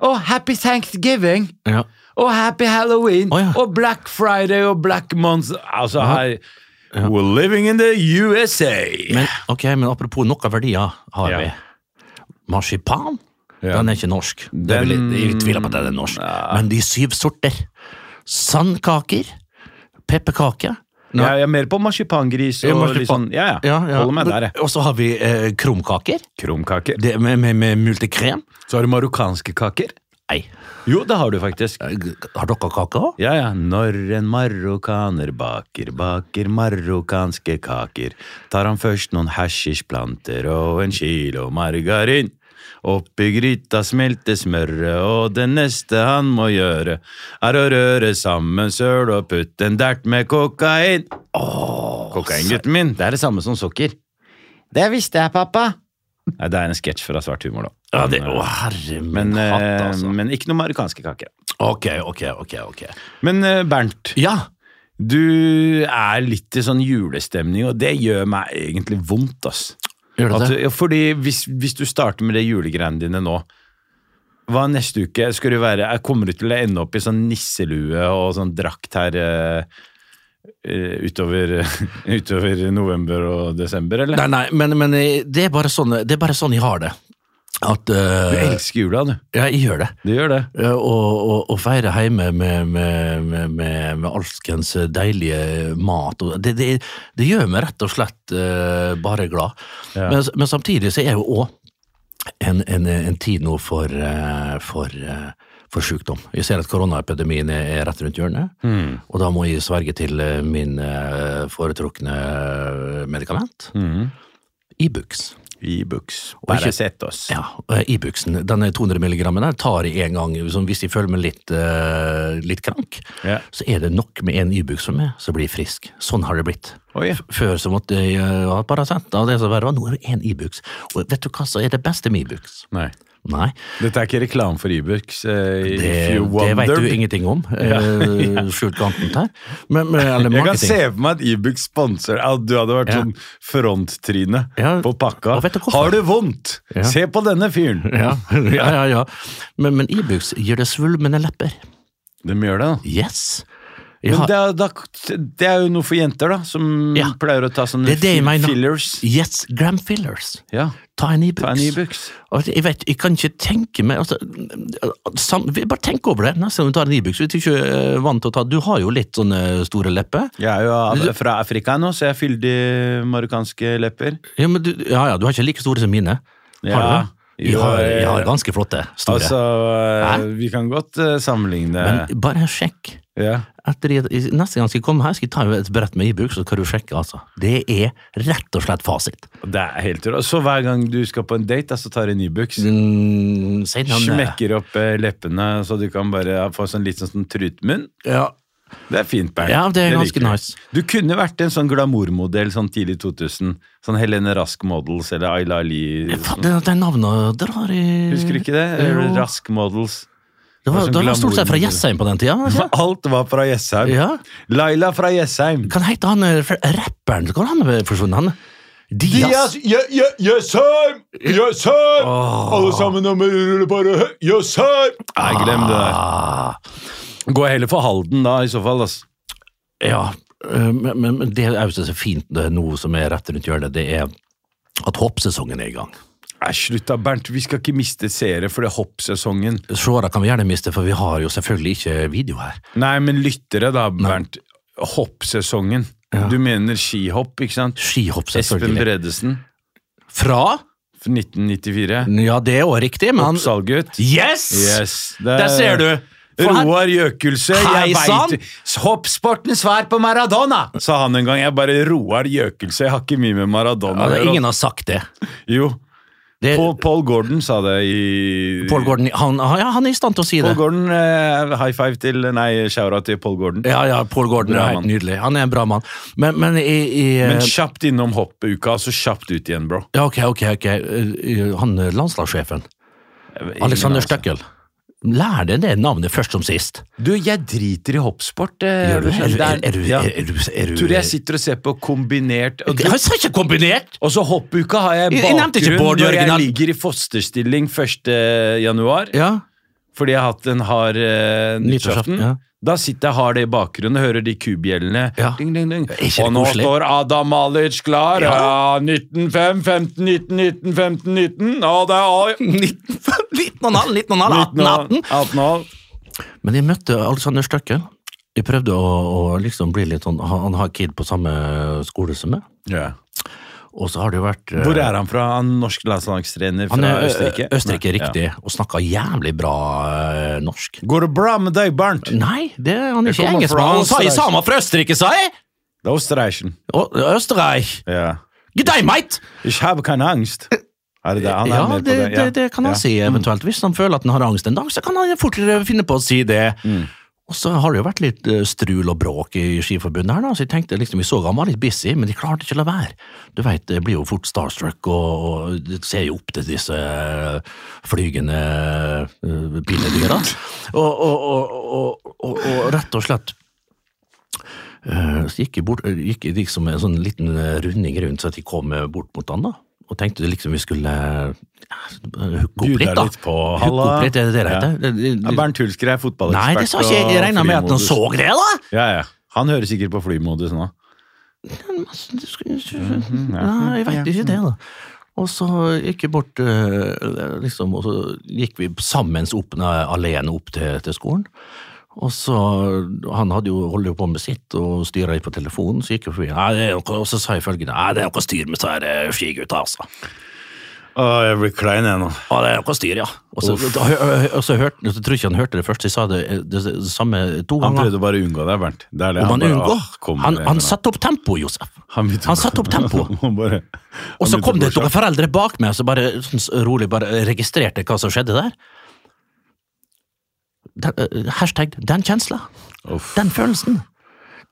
[SPEAKER 7] Å, happy Thanksgiving!
[SPEAKER 5] ja.
[SPEAKER 7] og Happy Halloween
[SPEAKER 5] Å, ja.
[SPEAKER 7] og Black Friday og Black Month. Altså, her We're living in the USA.
[SPEAKER 5] Men, ok, men apropos noen verdier har
[SPEAKER 7] Ja.
[SPEAKER 5] vi. Marsipan,
[SPEAKER 7] Ja.
[SPEAKER 5] den er ikke norsk. Det er vel, jeg tviler på at den er norsk. Men de syv sorter. Sandkaker, pepperkake.
[SPEAKER 7] ja, jeg er mer på marsipangris og
[SPEAKER 5] Ja, marsipan.
[SPEAKER 7] litt sånn. Ja, ja. Holder meg der, jeg.
[SPEAKER 5] Og så har vi eh, krumkaker
[SPEAKER 7] Krumkaker.
[SPEAKER 5] det, med, med, med multekrem.
[SPEAKER 7] Så har du marokkanske kaker.
[SPEAKER 5] Nei.
[SPEAKER 7] Jo, det har du faktisk.
[SPEAKER 5] Har dere kake òg?
[SPEAKER 7] Ja, ja. Når en marokkaner baker, baker marokkanske kaker, tar han først noen hasjisjplanter og en kilo margarin. Oppi gryta smelter smøret, og det neste han må gjøre, er å røre sammen søl og putte en dert med kokain. Kokain, gutten min. Det er det samme som sukker.
[SPEAKER 6] Det visste jeg, pappa.
[SPEAKER 7] Nei, det er en sketsj fra Svart humor, eh, da.
[SPEAKER 5] Ja, det, å, herre min
[SPEAKER 7] Men,
[SPEAKER 5] hatt,
[SPEAKER 7] eh,
[SPEAKER 5] altså.
[SPEAKER 7] men ikke noen marokkanske kaker.
[SPEAKER 5] Ok, ok, ok. ok.
[SPEAKER 7] Men eh, Bernt,
[SPEAKER 5] Ja,
[SPEAKER 7] Du er litt i sånn julestemning, og det gjør meg egentlig vondt, ass.
[SPEAKER 5] gjør det
[SPEAKER 7] At,
[SPEAKER 5] det?
[SPEAKER 7] ja, fordi hvis, hvis du starter med de julegreiene dine nå, hva neste uke skal du være? Jeg kommer du til å ende opp i sånn nisselue og sånn drakt her eh, eh, utover, utover november og desember, eller?
[SPEAKER 5] Nei, nei, men, men eh, det, er bare sånn, det er bare sånn jeg har det. At eh,
[SPEAKER 7] Du elsker jula, du.
[SPEAKER 5] Ja, jeg gjør det.
[SPEAKER 7] Du gjør det.
[SPEAKER 5] Eh, Og, og, og feire hjemme med, med, med, med, med alskens deilige mat. og Det, det, det gjør meg rett og slett eh, bare glad. Men, men samtidig så er jo òg en, en, en tid nå for, eh, for, eh, for sykdom. Jeg ser at koronaepidemien er er rett rundt hjørnet, og da må jeg sverge til eh, min eh, foretrukne medikament. Ibux.
[SPEAKER 7] Ibux.
[SPEAKER 5] Og ikke-
[SPEAKER 7] Paracet, ass.
[SPEAKER 5] Ja, eh, Ibuxen, denne 200 milligrammen der, tar jeg en gang, sånn hvis jeg føler meg litt, eh, litt krank,
[SPEAKER 7] Ja.
[SPEAKER 5] så er det nok med en Ibux for meg, så blir jeg frisk. Sånn har det blitt.
[SPEAKER 7] Oi.
[SPEAKER 5] F- Før så måtte jeg eh, ha Paracet, og det som verre var, nå er det en Ibux. Og vet du hva som er det beste med Ibux?
[SPEAKER 7] Nei.
[SPEAKER 5] Nei,
[SPEAKER 7] Dette er ikke reklame for Ibux. Eh,
[SPEAKER 5] det,
[SPEAKER 7] if you
[SPEAKER 5] det vet du
[SPEAKER 7] wondered.
[SPEAKER 5] ingenting om, ja. skjult kanten her. Men, men, eller
[SPEAKER 7] Jeg kan
[SPEAKER 5] marketing.
[SPEAKER 7] se for meg at Ibux sponser ja, Du hadde vært
[SPEAKER 5] Ja.
[SPEAKER 7] sånn fronttryne
[SPEAKER 5] Ja,
[SPEAKER 7] på pakka.
[SPEAKER 5] og vet du hvorfor?
[SPEAKER 7] Har du vondt?
[SPEAKER 5] Ja.
[SPEAKER 7] Se på denne fyren!
[SPEAKER 5] Ja, ja, ja, ja. Men, men Ibux gir det svulmende lepper.
[SPEAKER 7] De gjør det, da.
[SPEAKER 5] Yes. Jeg
[SPEAKER 7] Men
[SPEAKER 5] har-
[SPEAKER 7] det er, da, det er jo noe for jenter, da, som
[SPEAKER 5] Ja.
[SPEAKER 7] pleier å ta sånne
[SPEAKER 5] Det er det jeg
[SPEAKER 7] fi-
[SPEAKER 5] mener.
[SPEAKER 7] fillers.
[SPEAKER 5] Yes, gram fillers.
[SPEAKER 7] Ja,
[SPEAKER 5] Ta en
[SPEAKER 7] ta en
[SPEAKER 5] Ibux.
[SPEAKER 7] Ibux.
[SPEAKER 5] Og Jeg vet, jeg kan ikke tenke meg altså, sam, vi- Bare tenk over det neste gang du tar en Ibux. Hvis du ikke er vant til å ta Du har jo litt sånne store lepper.
[SPEAKER 7] Jeg er jo av- fra Afrika nå, så jeg har fyldige marokkanske lepper.
[SPEAKER 5] Ja, men du, ja, ja, du har ikke like store som mine.
[SPEAKER 7] Ja. eh,
[SPEAKER 5] Har du det? Jeg har, jeg har ganske flotte. Store.
[SPEAKER 7] Altså, eh, vi kan godt eh, sammenligne
[SPEAKER 5] men bare sjekk.
[SPEAKER 7] ja.
[SPEAKER 5] Etter, jeg- neste gang jeg skal komme her, skal jeg ta et brett med Ibux, så kan du sjekke. altså. Det er rett og slett fasit.
[SPEAKER 7] Det er helt rått. Så hver gang du skal på en date, da, så tar du en Ibux.
[SPEAKER 5] Mm, si den, eh,
[SPEAKER 7] Smekker opp eh, leppene, så du kan bare ja, få sånn litt sånn, sånn trutmunn.
[SPEAKER 5] Ja,
[SPEAKER 7] Det er fint, Bernt.
[SPEAKER 5] Ja, det er ganske
[SPEAKER 7] liker vi.
[SPEAKER 5] nice.
[SPEAKER 7] Du kunne vært en sånn glamourmodell sånn tidlig 2000. Sånn Helene Rask Models eller Ayla Ali.
[SPEAKER 5] faen, det, det navnet drar i
[SPEAKER 7] Husker du ikke det?
[SPEAKER 5] Jo.
[SPEAKER 7] Rask Models.
[SPEAKER 5] Det var,
[SPEAKER 7] Det var
[SPEAKER 5] det
[SPEAKER 7] sånn
[SPEAKER 5] var stort sett fra
[SPEAKER 7] glamour-
[SPEAKER 5] Jessheim på den tida. altså.
[SPEAKER 7] Alt var fra Jessheim.
[SPEAKER 5] Ja.
[SPEAKER 7] Laila fra Jessheim.
[SPEAKER 5] Kan hete han eh, fra- rapperen Hvor han er forsvunnet? Han? Dias.
[SPEAKER 7] Dias, Je- Je- Jessheim! Jessheim! Alle sammen om å rulle bare hø- Jessheim! Nei, glem det der.
[SPEAKER 5] Ah,
[SPEAKER 7] Gå heller for Halden, da, i så fall. ass.
[SPEAKER 5] ja. Eh, Men, men- men det er jo så fint det, nå som er rett rundt hjørnet, det er at hoppsesongen er i gang.
[SPEAKER 7] Æsj, slutt da, Bernt. Vi skal ikke miste seere for det hoppsesongen.
[SPEAKER 5] Seere kan vi gjerne miste, for vi har jo selvfølgelig ikke video her.
[SPEAKER 7] Nei, men lyttere, da, Bernt. Hoppsesongen. Du mener skihopp, ikke sant?
[SPEAKER 5] Skihopp,
[SPEAKER 7] Espen
[SPEAKER 5] selvfølgelig.
[SPEAKER 7] Bredesen,
[SPEAKER 5] Fra?
[SPEAKER 7] 1994.
[SPEAKER 5] Ja, det er også riktig, men han
[SPEAKER 7] Oppsalgutt.
[SPEAKER 5] Yes!
[SPEAKER 7] Yes, det-
[SPEAKER 5] Der ser du! For her-
[SPEAKER 7] Roar Gjøkelse.
[SPEAKER 5] Hei
[SPEAKER 7] Jeg
[SPEAKER 5] sann!
[SPEAKER 7] veit Hoppsportens svar på Maradona! Sa han en gang. Jeg bare Roar Gjøkelse. Jeg har ikke mye med Maradona
[SPEAKER 5] Ja,
[SPEAKER 7] å
[SPEAKER 5] det,
[SPEAKER 7] gjøre.
[SPEAKER 5] ingen har sagt det.
[SPEAKER 7] Jo.
[SPEAKER 5] det
[SPEAKER 7] Paul, Paul Gordon sa det i
[SPEAKER 5] Paul Gordon han, han- ja, han er i stand til å si
[SPEAKER 7] Paul
[SPEAKER 5] det.
[SPEAKER 7] Gordon, eh, high five til Nei, shoura til Paul Gordon.
[SPEAKER 5] Ja, ja, Paul Gordon
[SPEAKER 7] Bra
[SPEAKER 5] er helt
[SPEAKER 7] mann.
[SPEAKER 5] nydelig. Han er en bra mann. Men, men i, i eh,
[SPEAKER 7] Men kjapt innom hoppuka, så kjapt ut igjen, bro.
[SPEAKER 5] Ja, ok, ok, ok. Eh, Han eh, landslagssjefen.
[SPEAKER 7] Ingen
[SPEAKER 5] Alexander
[SPEAKER 7] anelse.
[SPEAKER 5] Støkkel. Lær deg det navnet først som sist.
[SPEAKER 7] Du, jeg driter i hoppsport. eh,
[SPEAKER 5] Gjør du det? Er du-
[SPEAKER 7] skjønner.
[SPEAKER 5] er du-
[SPEAKER 7] Ja.
[SPEAKER 5] er du- er du-
[SPEAKER 7] Tror du jeg sitter og ser på kombinert og,
[SPEAKER 5] Jeg sa ikke kombinert!
[SPEAKER 7] og så hoppuka har jeg
[SPEAKER 5] Jeg- jeg nevnte ikke
[SPEAKER 7] bakgrunn
[SPEAKER 5] Bård
[SPEAKER 7] når jeg
[SPEAKER 5] Jørgen.
[SPEAKER 7] ligger i fosterstilling 1. januar.
[SPEAKER 5] Ja,
[SPEAKER 7] Fordi jeg har hatt en hard eh, nyttårsaften.
[SPEAKER 5] Nyttårsaften, ja.
[SPEAKER 7] Da sitter jeg hard det i bakgrunnen, hører de kubjellene.
[SPEAKER 5] Ja.
[SPEAKER 7] Ding, ding, ding.
[SPEAKER 5] ikke det
[SPEAKER 7] Og nå
[SPEAKER 5] koselig?
[SPEAKER 7] står Adam Malic klar. Ja.
[SPEAKER 5] Ja.
[SPEAKER 7] 19, 5, 15, 19, 19, 15, 19. Og det er
[SPEAKER 5] 19, 19,5, 19,5, 18, 18.
[SPEAKER 7] 18, 18.
[SPEAKER 5] Men jeg møtte Alexander Støkkel. Jeg prøvde å, å liksom bli litt sånn Han han har kid på samme skole som meg,
[SPEAKER 7] Ja.
[SPEAKER 5] og så har det jo vært eh,
[SPEAKER 7] Hvor er han fra? Han norsk landslagstrener fra
[SPEAKER 5] han er,
[SPEAKER 7] Østerrike?
[SPEAKER 5] Ø- Ø- Østerrike,
[SPEAKER 7] Nei,
[SPEAKER 5] riktig, og snakker jævlig bra eh, norsk.
[SPEAKER 7] ja. Går det bra med deg, Bernt?
[SPEAKER 5] Nei, det, han er ikke
[SPEAKER 7] Jeg kommer fra
[SPEAKER 5] engelskmann. Han sa jeg sa han var fra Østerrike, sa jeg!
[SPEAKER 7] Det er Østerreichen.
[SPEAKER 5] Å, Østerreich!
[SPEAKER 7] Ja.
[SPEAKER 5] G'day, mate!
[SPEAKER 7] Ich habe keine angst. Er det det? Han er
[SPEAKER 5] ja,
[SPEAKER 7] med
[SPEAKER 5] det,
[SPEAKER 7] på det.
[SPEAKER 5] det, det kan han si, eventuelt. Hvis han føler at han har angst en dag, så kan han fortere finne på å si det.
[SPEAKER 7] Mm.
[SPEAKER 5] Og så har det jo vært litt eh, strul og bråk i Skiforbundet her, da, så jeg tenkte liksom, vi så han var litt busy, men de klarte ikke å la være. Du veit, det blir jo fort starstruck, og, og du ser jo opp til disse eh, flygende eh, pinnedyra. Og, og, og, og, og, og rett og slett Eh, Så gikk jeg, bort, eh, gikk jeg liksom en sånn liten eh, runding rundt, så at jeg kom eh, bort mot han da. Og tenkte liksom vi skulle eh, hooke opp
[SPEAKER 7] Bjuda
[SPEAKER 5] litt, da.
[SPEAKER 7] litt på,
[SPEAKER 5] Hooke
[SPEAKER 7] halla.
[SPEAKER 5] opp litt, er det det det
[SPEAKER 7] Ja.
[SPEAKER 5] heter? Det- det-
[SPEAKER 7] Ja, Bernt Hulsker er fotballekspert.
[SPEAKER 5] Nei, det sa ikke jeg. Jeg regna med at han så det, da!
[SPEAKER 7] Ja, ja. Han hører sikkert på flymodus nå.
[SPEAKER 5] Du skulle- Nei, jeg veit ikke det, da. Og så gikk jeg bort, eh, liksom, og så gikk vi sammen opp, nei, alene opp til, til skolen. Og så, Han hadde jo, holdt jo på med sitt og styra litt på telefonen, så gikk jeg forbi. Nei, det er noe, og så sa jeg følgende Nei, det er noe styr med disse her, eh, skigutta, altså.
[SPEAKER 7] Å, jeg blir klein jeg nå.
[SPEAKER 5] Ja, det er noe styr, ja. Og så, da, hø- hø- og så hørte, jeg tror ikke han hørte det først, jeg sa det, det, det samme to
[SPEAKER 7] Han
[SPEAKER 5] ganger.
[SPEAKER 7] prøvde bare å unngå deg, Bernt. Det er det.
[SPEAKER 5] Om han
[SPEAKER 7] bare,
[SPEAKER 5] unngår.
[SPEAKER 7] «Åh, kommer
[SPEAKER 5] Han,
[SPEAKER 7] det
[SPEAKER 5] han
[SPEAKER 7] med
[SPEAKER 5] satte opp tempoet, Josef.
[SPEAKER 7] Han begynte å-
[SPEAKER 5] Han satte opp tempoet.
[SPEAKER 7] Han bare-
[SPEAKER 5] Og så
[SPEAKER 7] han begynte
[SPEAKER 5] kom det
[SPEAKER 7] å
[SPEAKER 5] noen foreldre bak meg og så bare sånn s- rolig bare registrerte hva som skjedde der. Den, eh, hashtag 'den kjensla'.
[SPEAKER 7] Uff.
[SPEAKER 5] Den følelsen.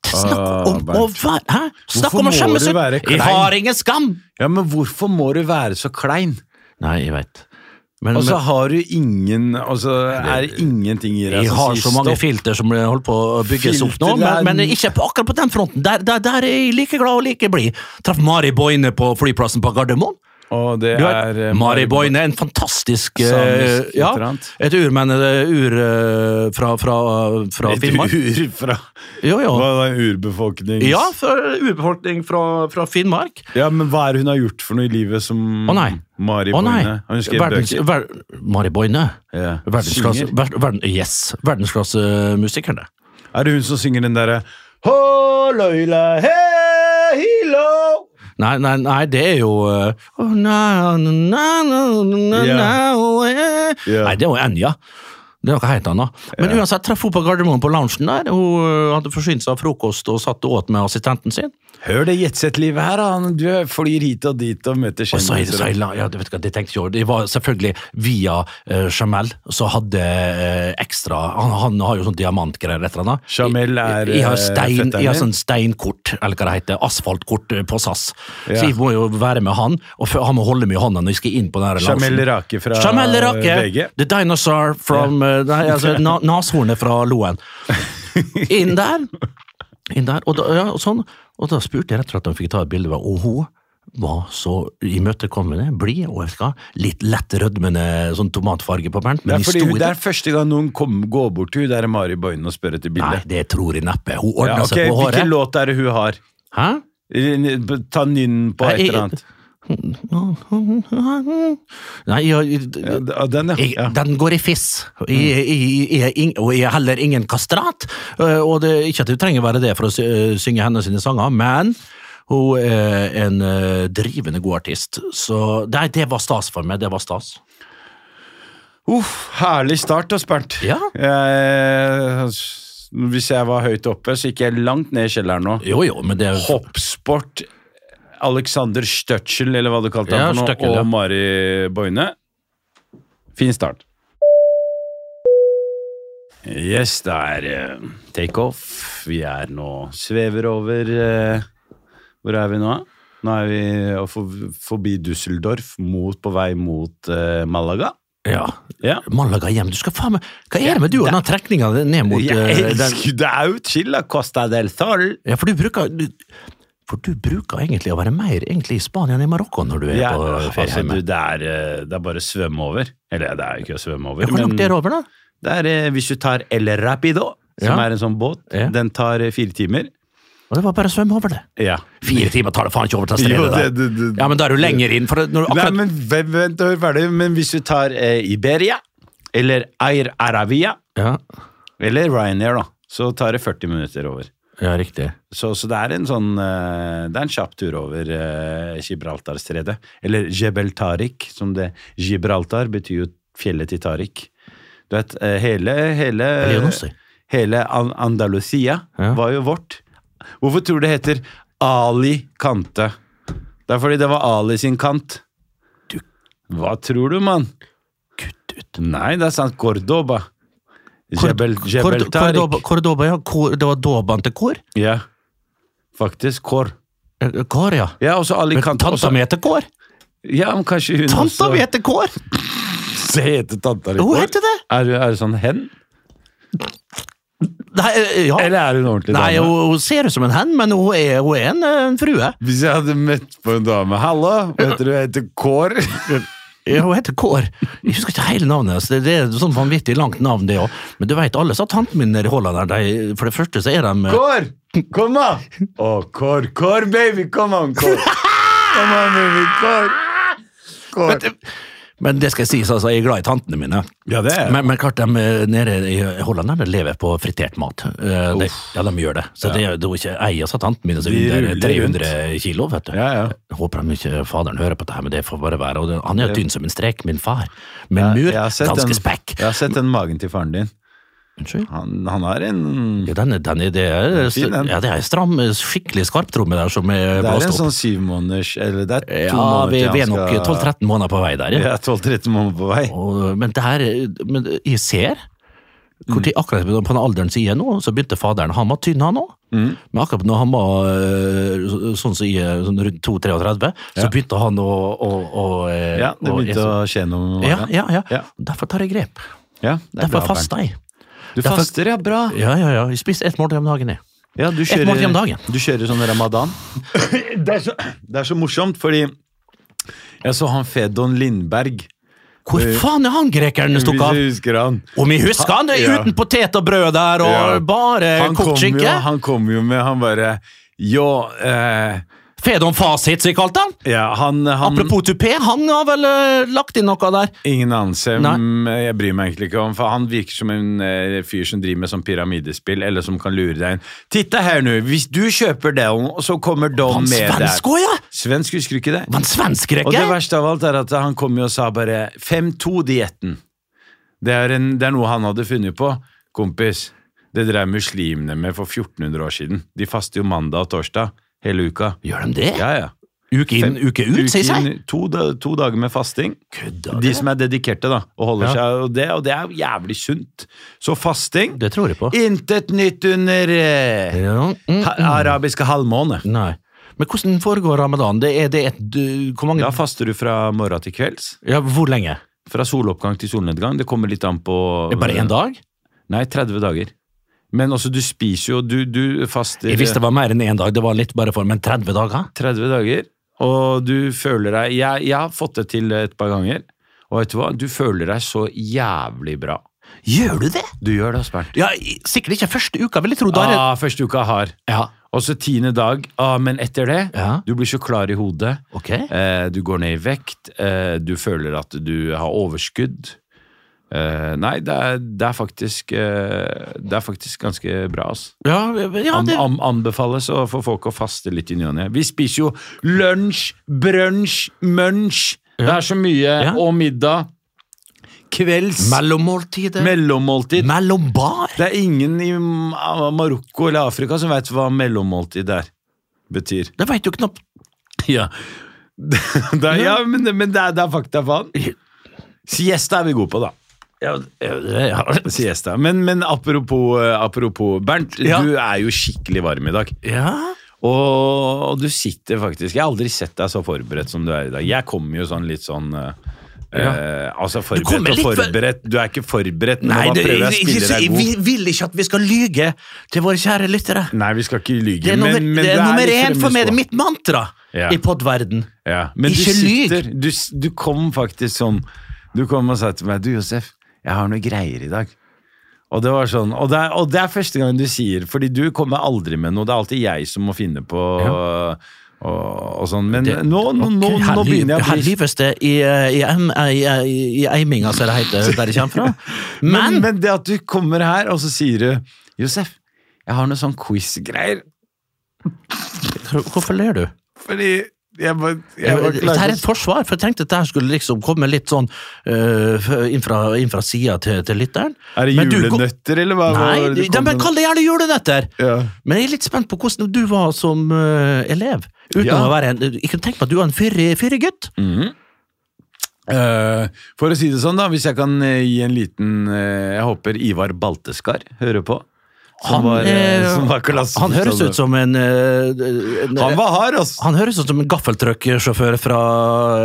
[SPEAKER 5] Snakk om
[SPEAKER 7] Ah, Bernt.
[SPEAKER 5] å være Hæ? Snakk
[SPEAKER 7] Hvorfor
[SPEAKER 5] om å
[SPEAKER 7] må
[SPEAKER 5] skjemme
[SPEAKER 7] du
[SPEAKER 5] seg
[SPEAKER 7] være
[SPEAKER 5] Jeg
[SPEAKER 7] klein?
[SPEAKER 5] har ingen skam!
[SPEAKER 7] Ja, men hvorfor må du være så klein?
[SPEAKER 5] Nei, jeg veit. Men,
[SPEAKER 7] Og så
[SPEAKER 5] men
[SPEAKER 7] har du ingen Og så er det ingenting i deg
[SPEAKER 5] jeg har så mange
[SPEAKER 7] stopp.
[SPEAKER 5] filter som holder på å bygges opp nå,
[SPEAKER 7] Filter er-
[SPEAKER 5] men, men ikke på, akkurat på den fronten. Der, der, der er jeg like glad og like blid. Traff Mari Boine på flyplassen på Gardermoen.
[SPEAKER 7] Og det
[SPEAKER 5] Du
[SPEAKER 7] er
[SPEAKER 5] vet,
[SPEAKER 7] eh,
[SPEAKER 5] Mari Boine, en fantastisk eh,
[SPEAKER 7] Samisk,
[SPEAKER 5] ja,
[SPEAKER 7] et eller annet.
[SPEAKER 5] Et urmenne eh, ur, eh, fra, fra, fra
[SPEAKER 7] Et
[SPEAKER 5] Finnmark.
[SPEAKER 7] ur fra
[SPEAKER 5] Jo, jo.
[SPEAKER 7] Hva er det, urbefolkning?
[SPEAKER 5] Ja, for urbefolkning fra, fra Finnmark.
[SPEAKER 7] Ja, men hva er det hun har gjort for noe i livet som
[SPEAKER 5] Å nei.
[SPEAKER 7] Mari
[SPEAKER 5] Å nei!
[SPEAKER 7] Boine? Hun skrev
[SPEAKER 5] Verdens,
[SPEAKER 7] bøker.
[SPEAKER 5] ver, Mari Boine.
[SPEAKER 7] Ja.
[SPEAKER 5] Verdensklasse,
[SPEAKER 7] Synger.
[SPEAKER 5] ver, verden, yes, verdensklassemusikerne.
[SPEAKER 7] Er det hun som synger den derre Hå, løyla, hei, hilo
[SPEAKER 5] Nei, nei, nei, det er jo eh, «Å, na, na, na, na, na,
[SPEAKER 7] Ja.
[SPEAKER 5] na, å, eh».
[SPEAKER 7] Ja.
[SPEAKER 5] Nei, det er jo Enja. Det er noe helt annet. Men uansett, traff hun på Gardermoen på loungen der. Hun eh, hadde forsynt seg av frokost og satt og åt med assistenten sin.
[SPEAKER 7] Hør det jetsett-livet her, da. Han- Du flyr hit og dit og møter
[SPEAKER 5] Og så er det
[SPEAKER 7] kjendiser.
[SPEAKER 5] seila, ja, det vet ikke hva, det tenkte jeg over. Det var selvfølgelig via eh, Jamel, så hadde eh, ekstra han, han har jo sånn diamantgreier, et eller annet.
[SPEAKER 7] Jamel er,
[SPEAKER 5] Jeg, jeg har,
[SPEAKER 7] eh,
[SPEAKER 5] stein,
[SPEAKER 7] fetteren
[SPEAKER 5] jeg har
[SPEAKER 7] din.
[SPEAKER 5] sånn steinkort, eller hva det heter, asfaltkort eh, på SAS.
[SPEAKER 7] Ja.
[SPEAKER 5] Så jeg må jo være med han, og f- han må holde meg i hånda når jeg skal inn på den her
[SPEAKER 7] Jamel
[SPEAKER 5] loungen.
[SPEAKER 7] Rake fra,
[SPEAKER 5] Jamel
[SPEAKER 7] eh,
[SPEAKER 5] Rake,
[SPEAKER 7] VG.
[SPEAKER 5] The Dinosaur from eh, Nei, altså, na, nashornet fra Loen. Inn der. Inn der. Og da, ja, og sånn. og da spurte jeg rett og slett om jeg fikk ta et bilde med henne. Og hun var så imøtekommende, blid og jeg vet ikke hva, litt lett rødmende sånn tomatfarge på Bernt.
[SPEAKER 7] Det
[SPEAKER 5] Men
[SPEAKER 7] er,
[SPEAKER 5] de
[SPEAKER 7] fordi
[SPEAKER 5] sto
[SPEAKER 7] hun,
[SPEAKER 5] i
[SPEAKER 7] det er første gang noen kom, går bort til hun der Mari Boine og spør etter
[SPEAKER 5] Nei,
[SPEAKER 7] bilde.
[SPEAKER 5] det tror jeg neppe. Hun ordna
[SPEAKER 7] Ja, ok,
[SPEAKER 5] seg på
[SPEAKER 7] Hvilken
[SPEAKER 5] håret.
[SPEAKER 7] låt er det hun har?
[SPEAKER 5] Hæ?
[SPEAKER 7] Ta nynn Eh, på
[SPEAKER 5] Nei,
[SPEAKER 7] et eller
[SPEAKER 5] jeg-
[SPEAKER 7] annet.
[SPEAKER 5] Nei, jeg,
[SPEAKER 7] Ja, den, ja.
[SPEAKER 5] jeg,
[SPEAKER 7] ja. Mm.
[SPEAKER 5] Den går i fiss, I, i, i, jeg er ing- og jeg er heller ingen kastrat. Eh, Og det, ikke at det trenger være det for å sy- eh, synge hennes sine sanger, men hun er en eh, drivende god artist. Så nei, det var stas for meg. Det var stas.
[SPEAKER 7] Uff, herlig start, da, Bernt.
[SPEAKER 5] Ja.
[SPEAKER 7] Eh, hvis jeg var høyt oppe, så gikk jeg langt ned i kjelleren nå.
[SPEAKER 5] Jo, jo, men det
[SPEAKER 7] Hoppsport, Alexander Støtschel, eller hva du kalte
[SPEAKER 5] Ja,
[SPEAKER 7] han for
[SPEAKER 5] Støtschel,
[SPEAKER 7] noe,
[SPEAKER 5] ja.
[SPEAKER 7] og Mari Boine. Fin start. Yes, det er eh, takeoff. Vi er nå svever over eh, Hvor er vi nå? Nå er vi eh, for- forbi Düsseldorf, mot, på vei mot eh, Malaga.
[SPEAKER 5] Ja.
[SPEAKER 7] Ja.
[SPEAKER 5] Malaga hjem. Du skal faen meg Hva er det med du og den trekninga ned mot
[SPEAKER 7] Jeg
[SPEAKER 5] eh, den,
[SPEAKER 7] elsker det er jo Chilla Costa del Sol.
[SPEAKER 5] Ja, for du bruker du, For du bruker egentlig å være mer egentlig i Spania enn i Marokko når du er
[SPEAKER 7] Ja,
[SPEAKER 5] på
[SPEAKER 7] altså, du,
[SPEAKER 5] feriehjemme.
[SPEAKER 7] det, er, eh, det er bare å svømme over. Eller det er jo ikke å svømme over,
[SPEAKER 5] Ja, hvor langt er det over, da?
[SPEAKER 7] det er, eh, hvis du tar El Rapido, som
[SPEAKER 5] Ja.
[SPEAKER 7] er en sånn båt,
[SPEAKER 5] Ja.
[SPEAKER 7] den tar eh, fire timer.
[SPEAKER 5] Og det var bare å svømme over det.
[SPEAKER 7] Ja.
[SPEAKER 5] Fire timer tar det faen ikke over til
[SPEAKER 7] Jo,
[SPEAKER 5] stedet der.
[SPEAKER 7] det- det- det-
[SPEAKER 5] Ja, men da er du lenger inn, for når du
[SPEAKER 7] Nei,
[SPEAKER 5] akkurat
[SPEAKER 7] men vent, vent, hør ferdig. Men hvis du tar eh, Iberia, eller Air Arabia,
[SPEAKER 5] ja.
[SPEAKER 7] eller Ryanair, da, så tar det 40 minutter over.
[SPEAKER 5] ja, riktig.
[SPEAKER 7] Så, så det er en sånn eh, Det er en kjapp tur over eh, Gibraltarstredet. Eller Jebel Tariq, som det Gibraltar betyr jo fjellet til Tariq. Du vet, eh, hele hele,
[SPEAKER 5] Leonossi.
[SPEAKER 7] hele An Andalusia
[SPEAKER 5] Ja.
[SPEAKER 7] var jo vårt. Hvorfor tror du det heter Ali Kante? Det er fordi det var Ali sin kant. Hva tror du, mann? Kutt ut. Nei, det er sant. Cordoba. Jebel,
[SPEAKER 5] Kord-
[SPEAKER 7] Jebel
[SPEAKER 5] Kordoba,
[SPEAKER 7] Tariq.
[SPEAKER 5] Kordoba, ja. Kor, det var dåpen til kor?
[SPEAKER 7] Ja. Faktisk. Kor.
[SPEAKER 5] Eh, Kor, ja.
[SPEAKER 7] Ja, og så
[SPEAKER 5] Men
[SPEAKER 7] Alicante.
[SPEAKER 5] tanta
[SPEAKER 7] også-
[SPEAKER 5] mi heter Kår!
[SPEAKER 7] Ja, men kanskje hun
[SPEAKER 5] Tanta
[SPEAKER 7] også
[SPEAKER 5] mi heter Kår!
[SPEAKER 7] Se, heter tanta di
[SPEAKER 5] Hun
[SPEAKER 7] Kår?
[SPEAKER 5] heter det!
[SPEAKER 7] Er, du- er du sånn hen?
[SPEAKER 5] Nei, eh, ja.
[SPEAKER 7] Eller er hun ordentlig
[SPEAKER 5] Nei,
[SPEAKER 7] dame?
[SPEAKER 5] hun, hun ser ut som en hen, men hun er, hun er en, eh, en frue.
[SPEAKER 7] Hvis jeg hadde møtt på en dame Hallo, hva heter du? Jeg heter Kår.
[SPEAKER 5] Ja, hun heter Kår. Jeg husker ikke hele navnet hennes. Det, det er et sånn vanvittig langt navn, det òg. Men du veit, alle sa tanten min nede i Holland her, de, for det første så er de eh,
[SPEAKER 7] Kår! Kom da! Å, Kår, Kår, baby! Kom an, Kår! Kom an, baby, Kår!
[SPEAKER 5] Men,
[SPEAKER 7] Kår.
[SPEAKER 5] men det skal sies, altså, jeg er glad i tantene mine.
[SPEAKER 7] Ja, det er jeg.
[SPEAKER 5] men, men klart, de eh, nede i Holland der, de lever på fritert mat. Eh, de, ja, de gjør det. Så det, er- det er ikke ei av tantene mine som
[SPEAKER 7] De
[SPEAKER 5] er
[SPEAKER 7] ruller
[SPEAKER 5] under 300 kilo, vet du.
[SPEAKER 7] Ja, ja.
[SPEAKER 5] Jeg Håper han ikke faderen hører på det her, men det får bare være. Og det, han er jo tynn som en strek, min far. Men mur,
[SPEAKER 7] Jeg har sett
[SPEAKER 5] ganske
[SPEAKER 7] den-
[SPEAKER 5] spekk.
[SPEAKER 7] Jeg har sett den magen til faren din.
[SPEAKER 5] Unnskyld?
[SPEAKER 7] Han, han har en
[SPEAKER 5] Ja, den, er- den, er- det er,
[SPEAKER 7] fin, den.
[SPEAKER 5] ja, det er en stram, skikkelig skarptromme der som er
[SPEAKER 7] Det er en
[SPEAKER 5] blåst opp.
[SPEAKER 7] sånn syv måneders Eller det er
[SPEAKER 5] Ja,
[SPEAKER 7] to måneder
[SPEAKER 5] vi,
[SPEAKER 7] til
[SPEAKER 5] vi er
[SPEAKER 7] han
[SPEAKER 5] nok
[SPEAKER 7] skal-
[SPEAKER 5] 12-13 måneder på vei der, ja.
[SPEAKER 7] Ja, 12-13 måneder på vei.
[SPEAKER 5] Og, men det her, men jeg ser hvor tid, akkurat på den alderen som jeg er nå, så begynte faderen, han var tynn han også.
[SPEAKER 7] Mm.
[SPEAKER 5] Men akkurat når han var øh, så- sånn som jeg er, sånn rundt 2-33, så begynte han å... å, å øh,
[SPEAKER 7] Ja, det
[SPEAKER 5] å-
[SPEAKER 7] begynte å skje noe med
[SPEAKER 5] Ja,
[SPEAKER 7] magen.
[SPEAKER 5] ja, ja.
[SPEAKER 7] Ja.
[SPEAKER 5] Derfor tar jeg grep.
[SPEAKER 7] Ja, det er bra,
[SPEAKER 5] Derfor
[SPEAKER 7] Bernt.
[SPEAKER 5] faster jeg.
[SPEAKER 7] Du
[SPEAKER 5] Derfor-
[SPEAKER 7] faster, ja, bra.
[SPEAKER 5] Ja, ja, ja. Jeg spiser ett måltid om dagen, jeg.
[SPEAKER 7] Ja, du
[SPEAKER 5] Et måltid om dagen.
[SPEAKER 7] Du kjører sånn ramadan. det, er så, det er så morsomt, fordi jeg så han Fedon Lindberg.
[SPEAKER 5] Hvor faen er han grekeren
[SPEAKER 7] Hvis
[SPEAKER 5] stukk av?
[SPEAKER 7] du husker han.
[SPEAKER 5] Om jeg husker han, det er
[SPEAKER 7] Ja.
[SPEAKER 5] uten potet og brød der, og
[SPEAKER 7] Ja.
[SPEAKER 5] bare
[SPEAKER 7] Han kom,
[SPEAKER 5] kokt
[SPEAKER 7] jo,
[SPEAKER 5] skinke.
[SPEAKER 7] han kom jo med Han bare Jo, eh,
[SPEAKER 5] Fedon fasit, som jeg kalte han.
[SPEAKER 7] ja, han, han
[SPEAKER 5] Apropos tupé, han har vel eh, lagt inn noe der.
[SPEAKER 7] Ingen anelse.
[SPEAKER 5] Nei.
[SPEAKER 7] mm, Jeg bryr meg egentlig ikke om For han virker som en eh, fyr som driver med sånn pyramidespill, eller som kan lure deg inn. Titta her nå, hvis du kjøper den, så kommer Dom
[SPEAKER 5] Han
[SPEAKER 7] med deg.
[SPEAKER 5] svensk òg, ja!
[SPEAKER 7] Svensk, husker du ikke det?
[SPEAKER 5] Var han svensk
[SPEAKER 7] Og det
[SPEAKER 5] greker?
[SPEAKER 7] verste av alt er at han kom jo og sa bare 5-2-dietten. Det, er en- det er noe han hadde funnet på, kompis. Det drev muslimene med for 1400 år siden. De faster jo mandag og torsdag hele uka.
[SPEAKER 5] Gjør de det?
[SPEAKER 7] Ja, ja.
[SPEAKER 5] Uke inn,
[SPEAKER 7] Fem-
[SPEAKER 5] uke ut, sier
[SPEAKER 7] Uke
[SPEAKER 5] seg?
[SPEAKER 7] inn, To, da- to dager med fasting.
[SPEAKER 5] Kødda
[SPEAKER 7] De som er dedikerte, da. Og holder
[SPEAKER 5] Ja.
[SPEAKER 7] seg, og det, og det er jo jævlig sunt. Så fasting
[SPEAKER 5] Det tror jeg på.
[SPEAKER 7] Intet nytt under eh,
[SPEAKER 5] Ja, mm,
[SPEAKER 7] ha, arabiske halvmåne.
[SPEAKER 5] nei. Men hvordan foregår ramadan? Det er det er et du- Hvor mange
[SPEAKER 7] Da faster du fra morgen til kvelds.
[SPEAKER 5] Ja, Hvor lenge?
[SPEAKER 7] Fra soloppgang til solnedgang. Det kommer litt an på
[SPEAKER 5] Bare én dag?
[SPEAKER 7] Nei, 30 dager. Men også, du spiser jo Du, du faster
[SPEAKER 5] Jeg visste det var mer enn én dag, det var litt bare for Men 30 dager?
[SPEAKER 7] 30 dager, og du føler deg jeg, jeg har fått det til et par ganger, og vet du hva? Du føler deg så jævlig bra.
[SPEAKER 5] Gjør du det?
[SPEAKER 7] Du gjør det, Asbjørn.
[SPEAKER 5] Ja, i- Sikkert ikke første uka, vil jeg tro. Da er det
[SPEAKER 7] Ja, første uka er hard.
[SPEAKER 5] Ja.
[SPEAKER 7] Og så tiende dag. Ah, men etter det
[SPEAKER 5] Ja.
[SPEAKER 7] Du blir så klar i hodet.
[SPEAKER 5] Ok.
[SPEAKER 7] Eh, du går ned i vekt. Eh, du føler at du har overskudd. Eh, nei, det er, det, er faktisk, eh, det er faktisk ganske bra, ass.
[SPEAKER 5] Ja, ja
[SPEAKER 7] An,
[SPEAKER 5] det,
[SPEAKER 7] an, anbefales å få folk å faste litt i ny og ne. Vi spiser jo lunsj, brunsj, munch. Det er så mye.
[SPEAKER 5] Ja.
[SPEAKER 7] Og middag. Kvelds.
[SPEAKER 5] mellommåltidet.
[SPEAKER 7] mellommåltid.
[SPEAKER 5] Mellombar.
[SPEAKER 7] Det er ingen i Ma- Marokko eller Afrika som veit hva mellommåltid der betyr.
[SPEAKER 5] Det veit du knapt.
[SPEAKER 7] Ja, det er, ja men, det- men det er, det er fakta, faen. Siesta er vi gode på, da.
[SPEAKER 5] Ja, det- ja.
[SPEAKER 7] Siesta. Men, men apropos, eh, apropos Bernt,
[SPEAKER 5] Ja.
[SPEAKER 7] du er jo skikkelig varm i dag.
[SPEAKER 5] ja.
[SPEAKER 7] Og, og du sitter faktisk Jeg har aldri sett deg så forberedt som du er i dag. Jeg kommer jo sånn litt sånn eh, eh, altså
[SPEAKER 5] kommer
[SPEAKER 7] forberedt og
[SPEAKER 5] litt for-
[SPEAKER 7] forberedt. Du er ikke forberedt, men
[SPEAKER 5] Nei,
[SPEAKER 7] nå
[SPEAKER 5] det,
[SPEAKER 7] bare prøver jeg å
[SPEAKER 5] ikke,
[SPEAKER 7] spille
[SPEAKER 5] jeg
[SPEAKER 7] deg god.
[SPEAKER 5] vil- vil ikke at vi skal lyge til våre kjære lyttere.
[SPEAKER 7] Nei, vi skal ikke lyge,
[SPEAKER 5] Det er nummer,
[SPEAKER 7] men, men
[SPEAKER 5] det er
[SPEAKER 7] du
[SPEAKER 5] nummer
[SPEAKER 7] litt
[SPEAKER 5] én for meg, det
[SPEAKER 7] fremmedspråk.
[SPEAKER 5] er mitt mantra
[SPEAKER 7] Ja.
[SPEAKER 5] i podverden.
[SPEAKER 7] Ja, men
[SPEAKER 5] Ikke
[SPEAKER 7] du
[SPEAKER 5] lyg!
[SPEAKER 7] sitter, du, s- du kom faktisk sånn Du kom og sa til meg Du Josef, jeg har noe greier i dag Og det var sånn Og det er, og det er første gang du sier Fordi du kommer aldri med noe Det er alltid jeg som må finne på og, og sånn Men
[SPEAKER 5] Det-
[SPEAKER 7] nå, nå, nå,
[SPEAKER 5] Ok, her
[SPEAKER 7] nå
[SPEAKER 5] ly-
[SPEAKER 7] begynner jeg å
[SPEAKER 5] Her
[SPEAKER 7] bli
[SPEAKER 5] lyves det i, eh, i, em- eh, i, eh, i, i eiminga, som det heter der jeg kommer fra.
[SPEAKER 7] men,
[SPEAKER 5] Men,
[SPEAKER 7] men det at du kommer her og så sier du Josef, jeg har noe sånn quiz-greier
[SPEAKER 5] Hvorfor ler du?
[SPEAKER 7] Fordi jeg bare, jeg bare
[SPEAKER 5] Dette
[SPEAKER 7] klarer
[SPEAKER 5] er et forsvar, for jeg tenkte at dette skulle liksom komme litt sånn eh, inn fra, inn fra sida til, til lytteren.
[SPEAKER 7] Er det
[SPEAKER 5] Men du kom-
[SPEAKER 7] julenøtter eller hva?
[SPEAKER 5] Nei,
[SPEAKER 7] hva-
[SPEAKER 5] de, de, men kall det gjerne julenøtter!
[SPEAKER 7] Ja.
[SPEAKER 5] Men jeg er litt spent på hvordan du var som eh, elev. Uten
[SPEAKER 7] Ja.
[SPEAKER 5] å være en, Jeg kunne tenke meg at du var en fyrig fyrig gutt.
[SPEAKER 7] Eh, for å si det sånn, da, hvis jeg kan eh, gi en liten eh, Jeg håper Ivar Balteskar hører på. Som
[SPEAKER 5] Han,
[SPEAKER 7] var, eh,
[SPEAKER 5] eh,
[SPEAKER 7] som var klassen, sånn, øh.
[SPEAKER 5] Han høres ut som en, eh, en
[SPEAKER 7] Han var hard, ass!
[SPEAKER 5] Han høres ut som en gaffeltrøkkesjåfør fra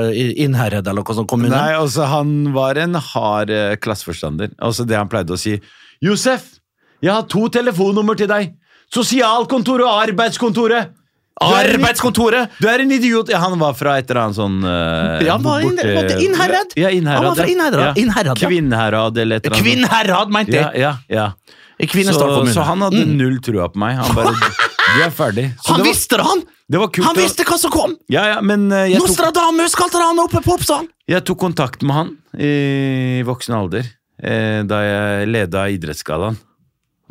[SPEAKER 5] øh, Innherred eller noe sånt kommune.
[SPEAKER 7] Nei, altså, han var en hard eh, klasseforstander. Altså det han pleide å si. Josef, jeg har to telefonnummer til deg. Sosialkontoret og arbeidskontoret. Du er en-
[SPEAKER 5] Arbeidskontoret!
[SPEAKER 7] Du er en idiot! Ja, han var fra et eller annet sånn eh,
[SPEAKER 5] Ja, han var inn-
[SPEAKER 7] borte-
[SPEAKER 5] var det Innherred?
[SPEAKER 7] Ja, Innherred.
[SPEAKER 5] Han var fra Innherred, Innherred, ja.
[SPEAKER 7] Kvinnherad eller et eller annet.
[SPEAKER 5] Kvinnherad, mente
[SPEAKER 7] Ja,
[SPEAKER 5] jeg!
[SPEAKER 7] ja, ja.
[SPEAKER 5] Kvinesdal
[SPEAKER 7] så,
[SPEAKER 5] kommune. Mm.
[SPEAKER 7] så han hadde null trua på meg. Han bare Du er ferdig. Så
[SPEAKER 5] Han
[SPEAKER 7] det var,
[SPEAKER 5] visste det, han!
[SPEAKER 7] Det var kult.
[SPEAKER 5] Han
[SPEAKER 7] det var-
[SPEAKER 5] visste hva som kom!
[SPEAKER 7] Ja, ja, men eh, jeg tok,
[SPEAKER 5] Nostradamus kalte han oppe på Oppsal!
[SPEAKER 7] jeg tok kontakt med han i voksen alder. eh, Da jeg leda Idrettsgallaen.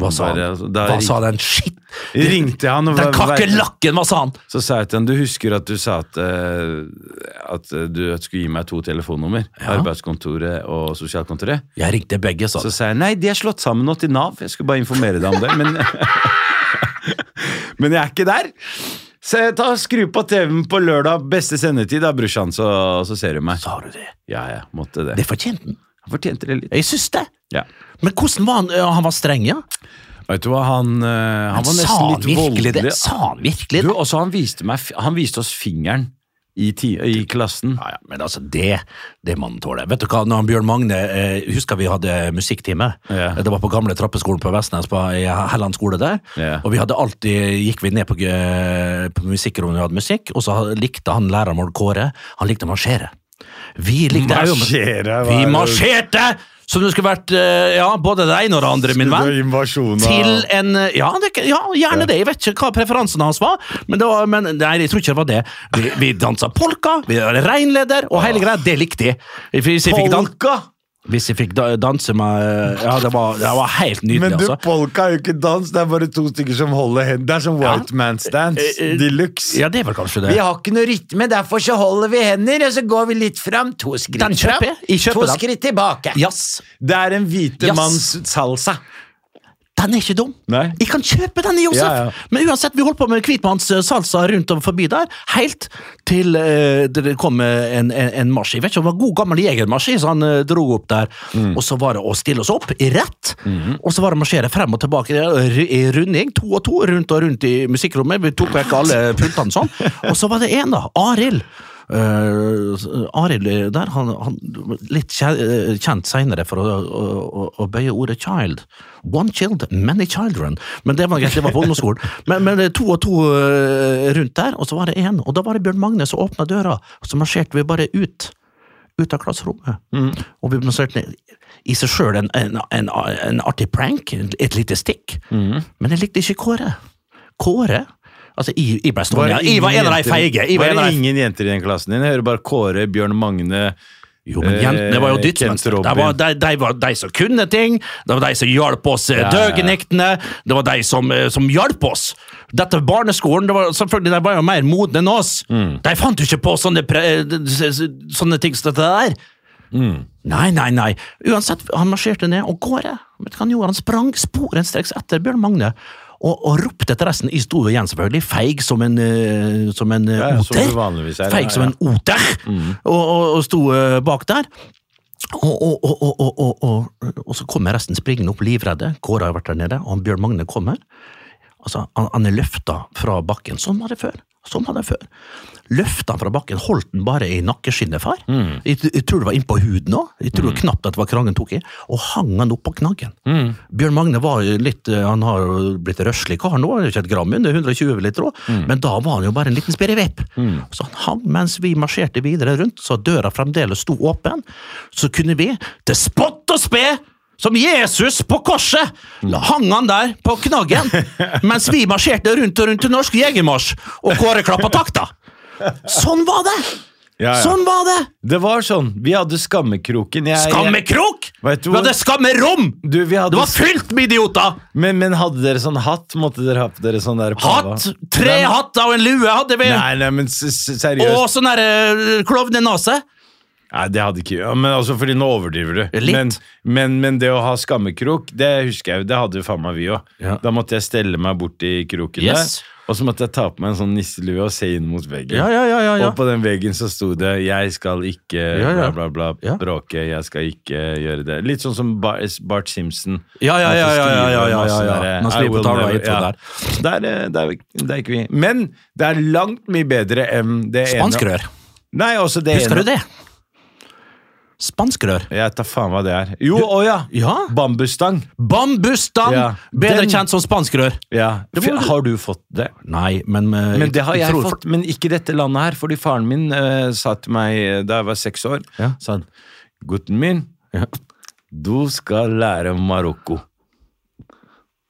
[SPEAKER 5] Hva sa
[SPEAKER 7] Bare,
[SPEAKER 5] han?
[SPEAKER 7] altså, da
[SPEAKER 5] Hva
[SPEAKER 7] ring-
[SPEAKER 5] sa den shit?
[SPEAKER 7] Ringte jeg han og
[SPEAKER 5] Den
[SPEAKER 7] var- var-
[SPEAKER 5] kakerlakken, hva sa han?
[SPEAKER 7] Så sa jeg til han Du husker at du sa at, eh, at eh, du skulle gi meg to telefonnummer? Arbeidskontoret og sosialkontoret?
[SPEAKER 5] Jeg ringte begge, sa
[SPEAKER 7] Så
[SPEAKER 5] han.
[SPEAKER 7] sa jeg nei, de er slått sammen nå til Nav. Jeg skulle bare informere deg om det. Men, men jeg er ikke der. Så jeg tar, skru på TV-en på lørdag, beste sendetid, da, brorsan, så, så ser du meg.
[SPEAKER 5] Sa du det?
[SPEAKER 7] Ja, jeg måtte det.
[SPEAKER 5] Det fortjente han.
[SPEAKER 7] Han fortjente det litt.
[SPEAKER 5] Jeg syns det.
[SPEAKER 7] Ja.
[SPEAKER 5] Men hvordan var han? Han var streng, ja?
[SPEAKER 7] Vet du hva, han, eh, han var
[SPEAKER 5] sa
[SPEAKER 7] nesten
[SPEAKER 5] han
[SPEAKER 7] litt
[SPEAKER 5] virkelig det?
[SPEAKER 7] voldelig.
[SPEAKER 5] Sa han virkelig
[SPEAKER 7] Du,
[SPEAKER 5] det?
[SPEAKER 7] også han viste, meg, f- han viste oss fingeren i, ti, i klassen.
[SPEAKER 5] Ja, ja, men altså, det, det man tåler. Vet du hva, når han Bjørn Magne eh, Husker vi hadde musikktime.
[SPEAKER 7] Ja.
[SPEAKER 5] Det var på gamle trappeskolen på Vestnes, på i Helland skole der.
[SPEAKER 7] Ja.
[SPEAKER 5] Og vi hadde alltid Gikk vi ned på, eh, på musikkrommet når vi hadde musikk, og så likte han læreren vår, Kåre, han likte å marsjere. Vi likte
[SPEAKER 7] Marsjere, hva
[SPEAKER 5] Vi
[SPEAKER 7] er det?
[SPEAKER 5] marsjerte! Som det skulle vært eh, ja, både det ene og det andre, min venn.
[SPEAKER 7] Invasjon
[SPEAKER 5] Til en eh, ja, det, ja, gjerne det. Jeg vet ikke hva preferansen hans var, men, det var, men nei, jeg tror ikke det var det. Vi, vi dansa polka, vi var reinleder, og hele greia, det likte jeg. Hvis jeg fikk, dan
[SPEAKER 7] Polka!
[SPEAKER 5] hvis jeg fikk da, danse med eh, Ja, det var, det var helt nydelig,
[SPEAKER 7] Men du,
[SPEAKER 5] altså.
[SPEAKER 7] polka er jo ikke dans, det er bare to stykker som holder hendene. Det er som white man's dance
[SPEAKER 5] Eh, eh,
[SPEAKER 7] de luxe.
[SPEAKER 5] Ja, det er vel kanskje det.
[SPEAKER 7] Vi har ikke noe rytme, derfor så holder vi hender, og så går vi litt fram. To skritt
[SPEAKER 5] Den kjøper jeg.
[SPEAKER 7] fram,
[SPEAKER 5] Jeg kjøper
[SPEAKER 7] to
[SPEAKER 5] den.
[SPEAKER 7] skritt tilbake.
[SPEAKER 5] Jazz.
[SPEAKER 7] Det er en hvite
[SPEAKER 5] Jazz.
[SPEAKER 7] manns salsa.
[SPEAKER 5] Den er ikke dum.
[SPEAKER 7] Nei.
[SPEAKER 5] Jeg kan kjøpe den, Josef!
[SPEAKER 7] Ja, ja.
[SPEAKER 5] Men uansett, vi holdt på med Kvitmanns eh, salsa rundt og forbi der, helt til eh, det kom eh, en, en, en marsj. Jeg vet ikke om det var god gammel jegermarsj, så han eh, dro opp der.
[SPEAKER 7] Mm.
[SPEAKER 5] Og så var det å stille oss opp i rett, og så var det å marsjere frem og tilbake i- i runding, to og to, rundt og rundt i musikkrommet. Vi tok vekk alle pultene sånn. Og så var det en, da. Arild. Eh, Arild eh, der, han, han litt kje- eh, kjent seinere for å, å, å, å bøye ordet 'child'. One child, many children. Men det var greit, det var på ungdomsskolen. Men, men det er to og to eh, rundt der, og så var det én. Og da var det Bjørn Magne som åpna døra, og så marsjerte vi bare ut. Ut av klasserommet.
[SPEAKER 7] Mm.
[SPEAKER 5] Og vi marsjerte ned. I seg sjøl en, en, en,
[SPEAKER 7] Mm.
[SPEAKER 5] en artig prank, et lite stikk. Men jeg likte ikke Kåre. Kåre Altså, jeg, jeg ble stående.
[SPEAKER 7] det
[SPEAKER 5] Jeg var
[SPEAKER 7] ingen
[SPEAKER 5] en av de
[SPEAKER 7] jenter-
[SPEAKER 5] feige. Jeg var
[SPEAKER 7] Var
[SPEAKER 5] en av
[SPEAKER 7] det
[SPEAKER 5] de
[SPEAKER 7] ingen jenter i den klassen din? Jeg hører bare Kåre, Bjørn Magne
[SPEAKER 5] Jo, men
[SPEAKER 7] Eh,
[SPEAKER 5] jentene var jo
[SPEAKER 7] Kent
[SPEAKER 5] dyttsmønstre. Det var
[SPEAKER 7] Robin.
[SPEAKER 5] de, de var de som kunne ting, det var de som hjalp oss ja,
[SPEAKER 7] ja, ja.
[SPEAKER 5] døgnektene, det var de som, eh, som hjalp oss. Dette var barneskolen, det var, selvfølgelig, de var jo mer modne enn oss.
[SPEAKER 7] Mm.
[SPEAKER 5] De fant jo ikke på sånne, pre, eh, s- s- sånne ting som dette der. Nei, nei, nei. Uansett, han marsjerte ned, og Kåre, vet du hva han gjorde? Han sprang sporenstreks etter Bjørn Magne. Og, og ropte etter resten. Jeg sto jo igjen, selvfølgelig, feig som en, eh, som en eh,
[SPEAKER 7] ja, som
[SPEAKER 5] oter.
[SPEAKER 7] du vanligvis er, ja,
[SPEAKER 5] feig som
[SPEAKER 7] ja. Mm.
[SPEAKER 5] en oter, og, og, og sto eh, bak der. Og, og, og, og, og, og, og, og så kommer resten springende opp, livredde. Kåre har vært der nede, og han Bjørn Magne kommer. Altså, han, han er løfta fra bakken. Sånn var det før. Sånn var det før. Løfta han fra bakken, holdt han bare i nakkeskinnet, far. Jeg, jeg tror det var innpå huden òg. Jeg tror det knapt at det var kragen tok i. Og hang han opp på knaggen. Bjørn Magne var jo litt eh, Han har jo blitt røslig kar nå, han er ikke et gram under 120 vil jeg tro, men da var han jo bare en liten spirrevepp. Så han hang mens vi marsjerte videre rundt, så døra fremdeles sto åpen. Så kunne vi, til spott og spe, som Jesus på korset! La hang han der på knaggen, mens vi marsjerte rundt og rundt til norsk jegermarsj, og Kåre klappa takta! Sånn var det!
[SPEAKER 7] Ja, ja.
[SPEAKER 5] Sånn var det!
[SPEAKER 7] Det var sånn. Vi hadde Skammekroken. Jeg, jeg-
[SPEAKER 5] Skammekrok!
[SPEAKER 7] Vet du
[SPEAKER 5] Vi
[SPEAKER 7] hvor-
[SPEAKER 5] hadde skammerom!
[SPEAKER 7] Du, vi hadde
[SPEAKER 5] Det var fylt med idioter!
[SPEAKER 7] men, men hadde dere sånn hatt? Måtte dere ha på dere sånn der pava?
[SPEAKER 5] Hatt! Tre
[SPEAKER 7] Nei,
[SPEAKER 5] hatter og en lue hadde vi!
[SPEAKER 7] Nei, nei, men s- s- seriøst.
[SPEAKER 5] Og sånn derre klovnenase.
[SPEAKER 7] Nei, det hadde ikke ja, Men altså, fordi nå overdriver du.
[SPEAKER 5] Litt.
[SPEAKER 7] Men, men, men det å ha skammekrok, det husker jeg jo. Det hadde jo faen meg vi òg.
[SPEAKER 5] Ja.
[SPEAKER 7] Da måtte jeg stelle meg bort i kroken
[SPEAKER 5] Yes.
[SPEAKER 7] der. Og så måtte jeg ta på meg en sånn nisselue og se inn mot veggen.
[SPEAKER 5] Ja, ja, ja, ja, ja.
[SPEAKER 7] Og på den veggen så sto det 'Jeg skal ikke
[SPEAKER 5] ja.
[SPEAKER 7] bla, bla, bla,
[SPEAKER 5] Ja.
[SPEAKER 7] bråke. Jeg skal ikke gjøre det'. Litt sånn som Bar Bart Simpson.
[SPEAKER 5] Ja, ja, ja,
[SPEAKER 7] At de
[SPEAKER 5] ja, ja,
[SPEAKER 7] skriver
[SPEAKER 5] ja, ja,
[SPEAKER 7] masse
[SPEAKER 5] ja.
[SPEAKER 7] der, eh,
[SPEAKER 5] Man
[SPEAKER 7] I
[SPEAKER 5] skriver på
[SPEAKER 7] will
[SPEAKER 5] tavla
[SPEAKER 7] never-
[SPEAKER 5] hit og der.
[SPEAKER 7] Så Der, eh, der, er vi- der er ikke vi. Men det er langt mye bedre enn det ene.
[SPEAKER 5] Spanskrør.
[SPEAKER 7] Nei, også det ene
[SPEAKER 5] Husker du det? Spanskrør.
[SPEAKER 7] jeg tar faen hva det er. Jo, å ja!
[SPEAKER 5] Ja.
[SPEAKER 7] Bambusstang.
[SPEAKER 5] Bambusstang!
[SPEAKER 7] Ja.
[SPEAKER 5] Bedre
[SPEAKER 7] Den-
[SPEAKER 5] kjent som spanskrør.
[SPEAKER 7] Ja.
[SPEAKER 5] Det må
[SPEAKER 7] F-
[SPEAKER 5] du-
[SPEAKER 7] Har du fått det?
[SPEAKER 5] Nei, men eh,
[SPEAKER 7] Men det har jeg
[SPEAKER 5] tror-
[SPEAKER 7] fått, men ikke i dette landet her. Fordi faren min eh, sa til meg eh, da jeg var seks år
[SPEAKER 5] Ja.
[SPEAKER 7] sa han, Gutten min, du skal lære Marokko.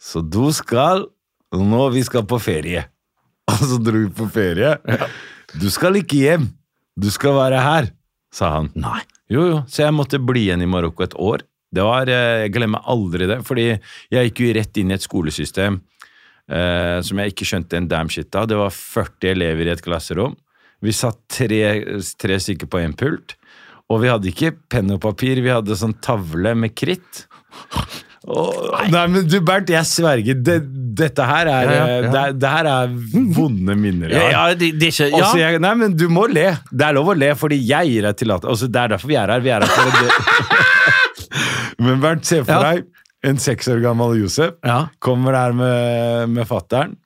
[SPEAKER 7] Så du skal Nå vi skal på ferie. Og så dro vi på ferie. Du skal ikke hjem. Du skal være her, sa han.
[SPEAKER 5] Nei.
[SPEAKER 7] Jo, jo. Så jeg måtte bli igjen i Marokko et år. Det var, eh, Jeg glemmer aldri det, fordi jeg gikk jo rett inn i et skolesystem eh, som jeg ikke skjønte en damn shit av. Det var 40 elever i et klasserom. Vi satt tre, tre stykker på en pult, og vi hadde ikke penn og papir, vi hadde sånn tavle med kritt. Og, nei, men du Bernt, jeg sverger. Det, dette her er, eh,
[SPEAKER 5] Ja, ja, ja.
[SPEAKER 7] Det, er- det her er vonde minner. jeg
[SPEAKER 5] Ja,
[SPEAKER 7] har.
[SPEAKER 5] ja det, det er ikke
[SPEAKER 7] Og
[SPEAKER 5] ja.
[SPEAKER 7] så Altså, jeg, nei, men du må le. Det er lov å le, fordi jeg gir deg tillatelse. Altså, det er derfor vi er her. Vi er her for å dø. men Bernt, se for
[SPEAKER 5] Ja.
[SPEAKER 7] deg en seks år gammel Josef.
[SPEAKER 5] Ja.
[SPEAKER 7] Kommer der med, med fattern.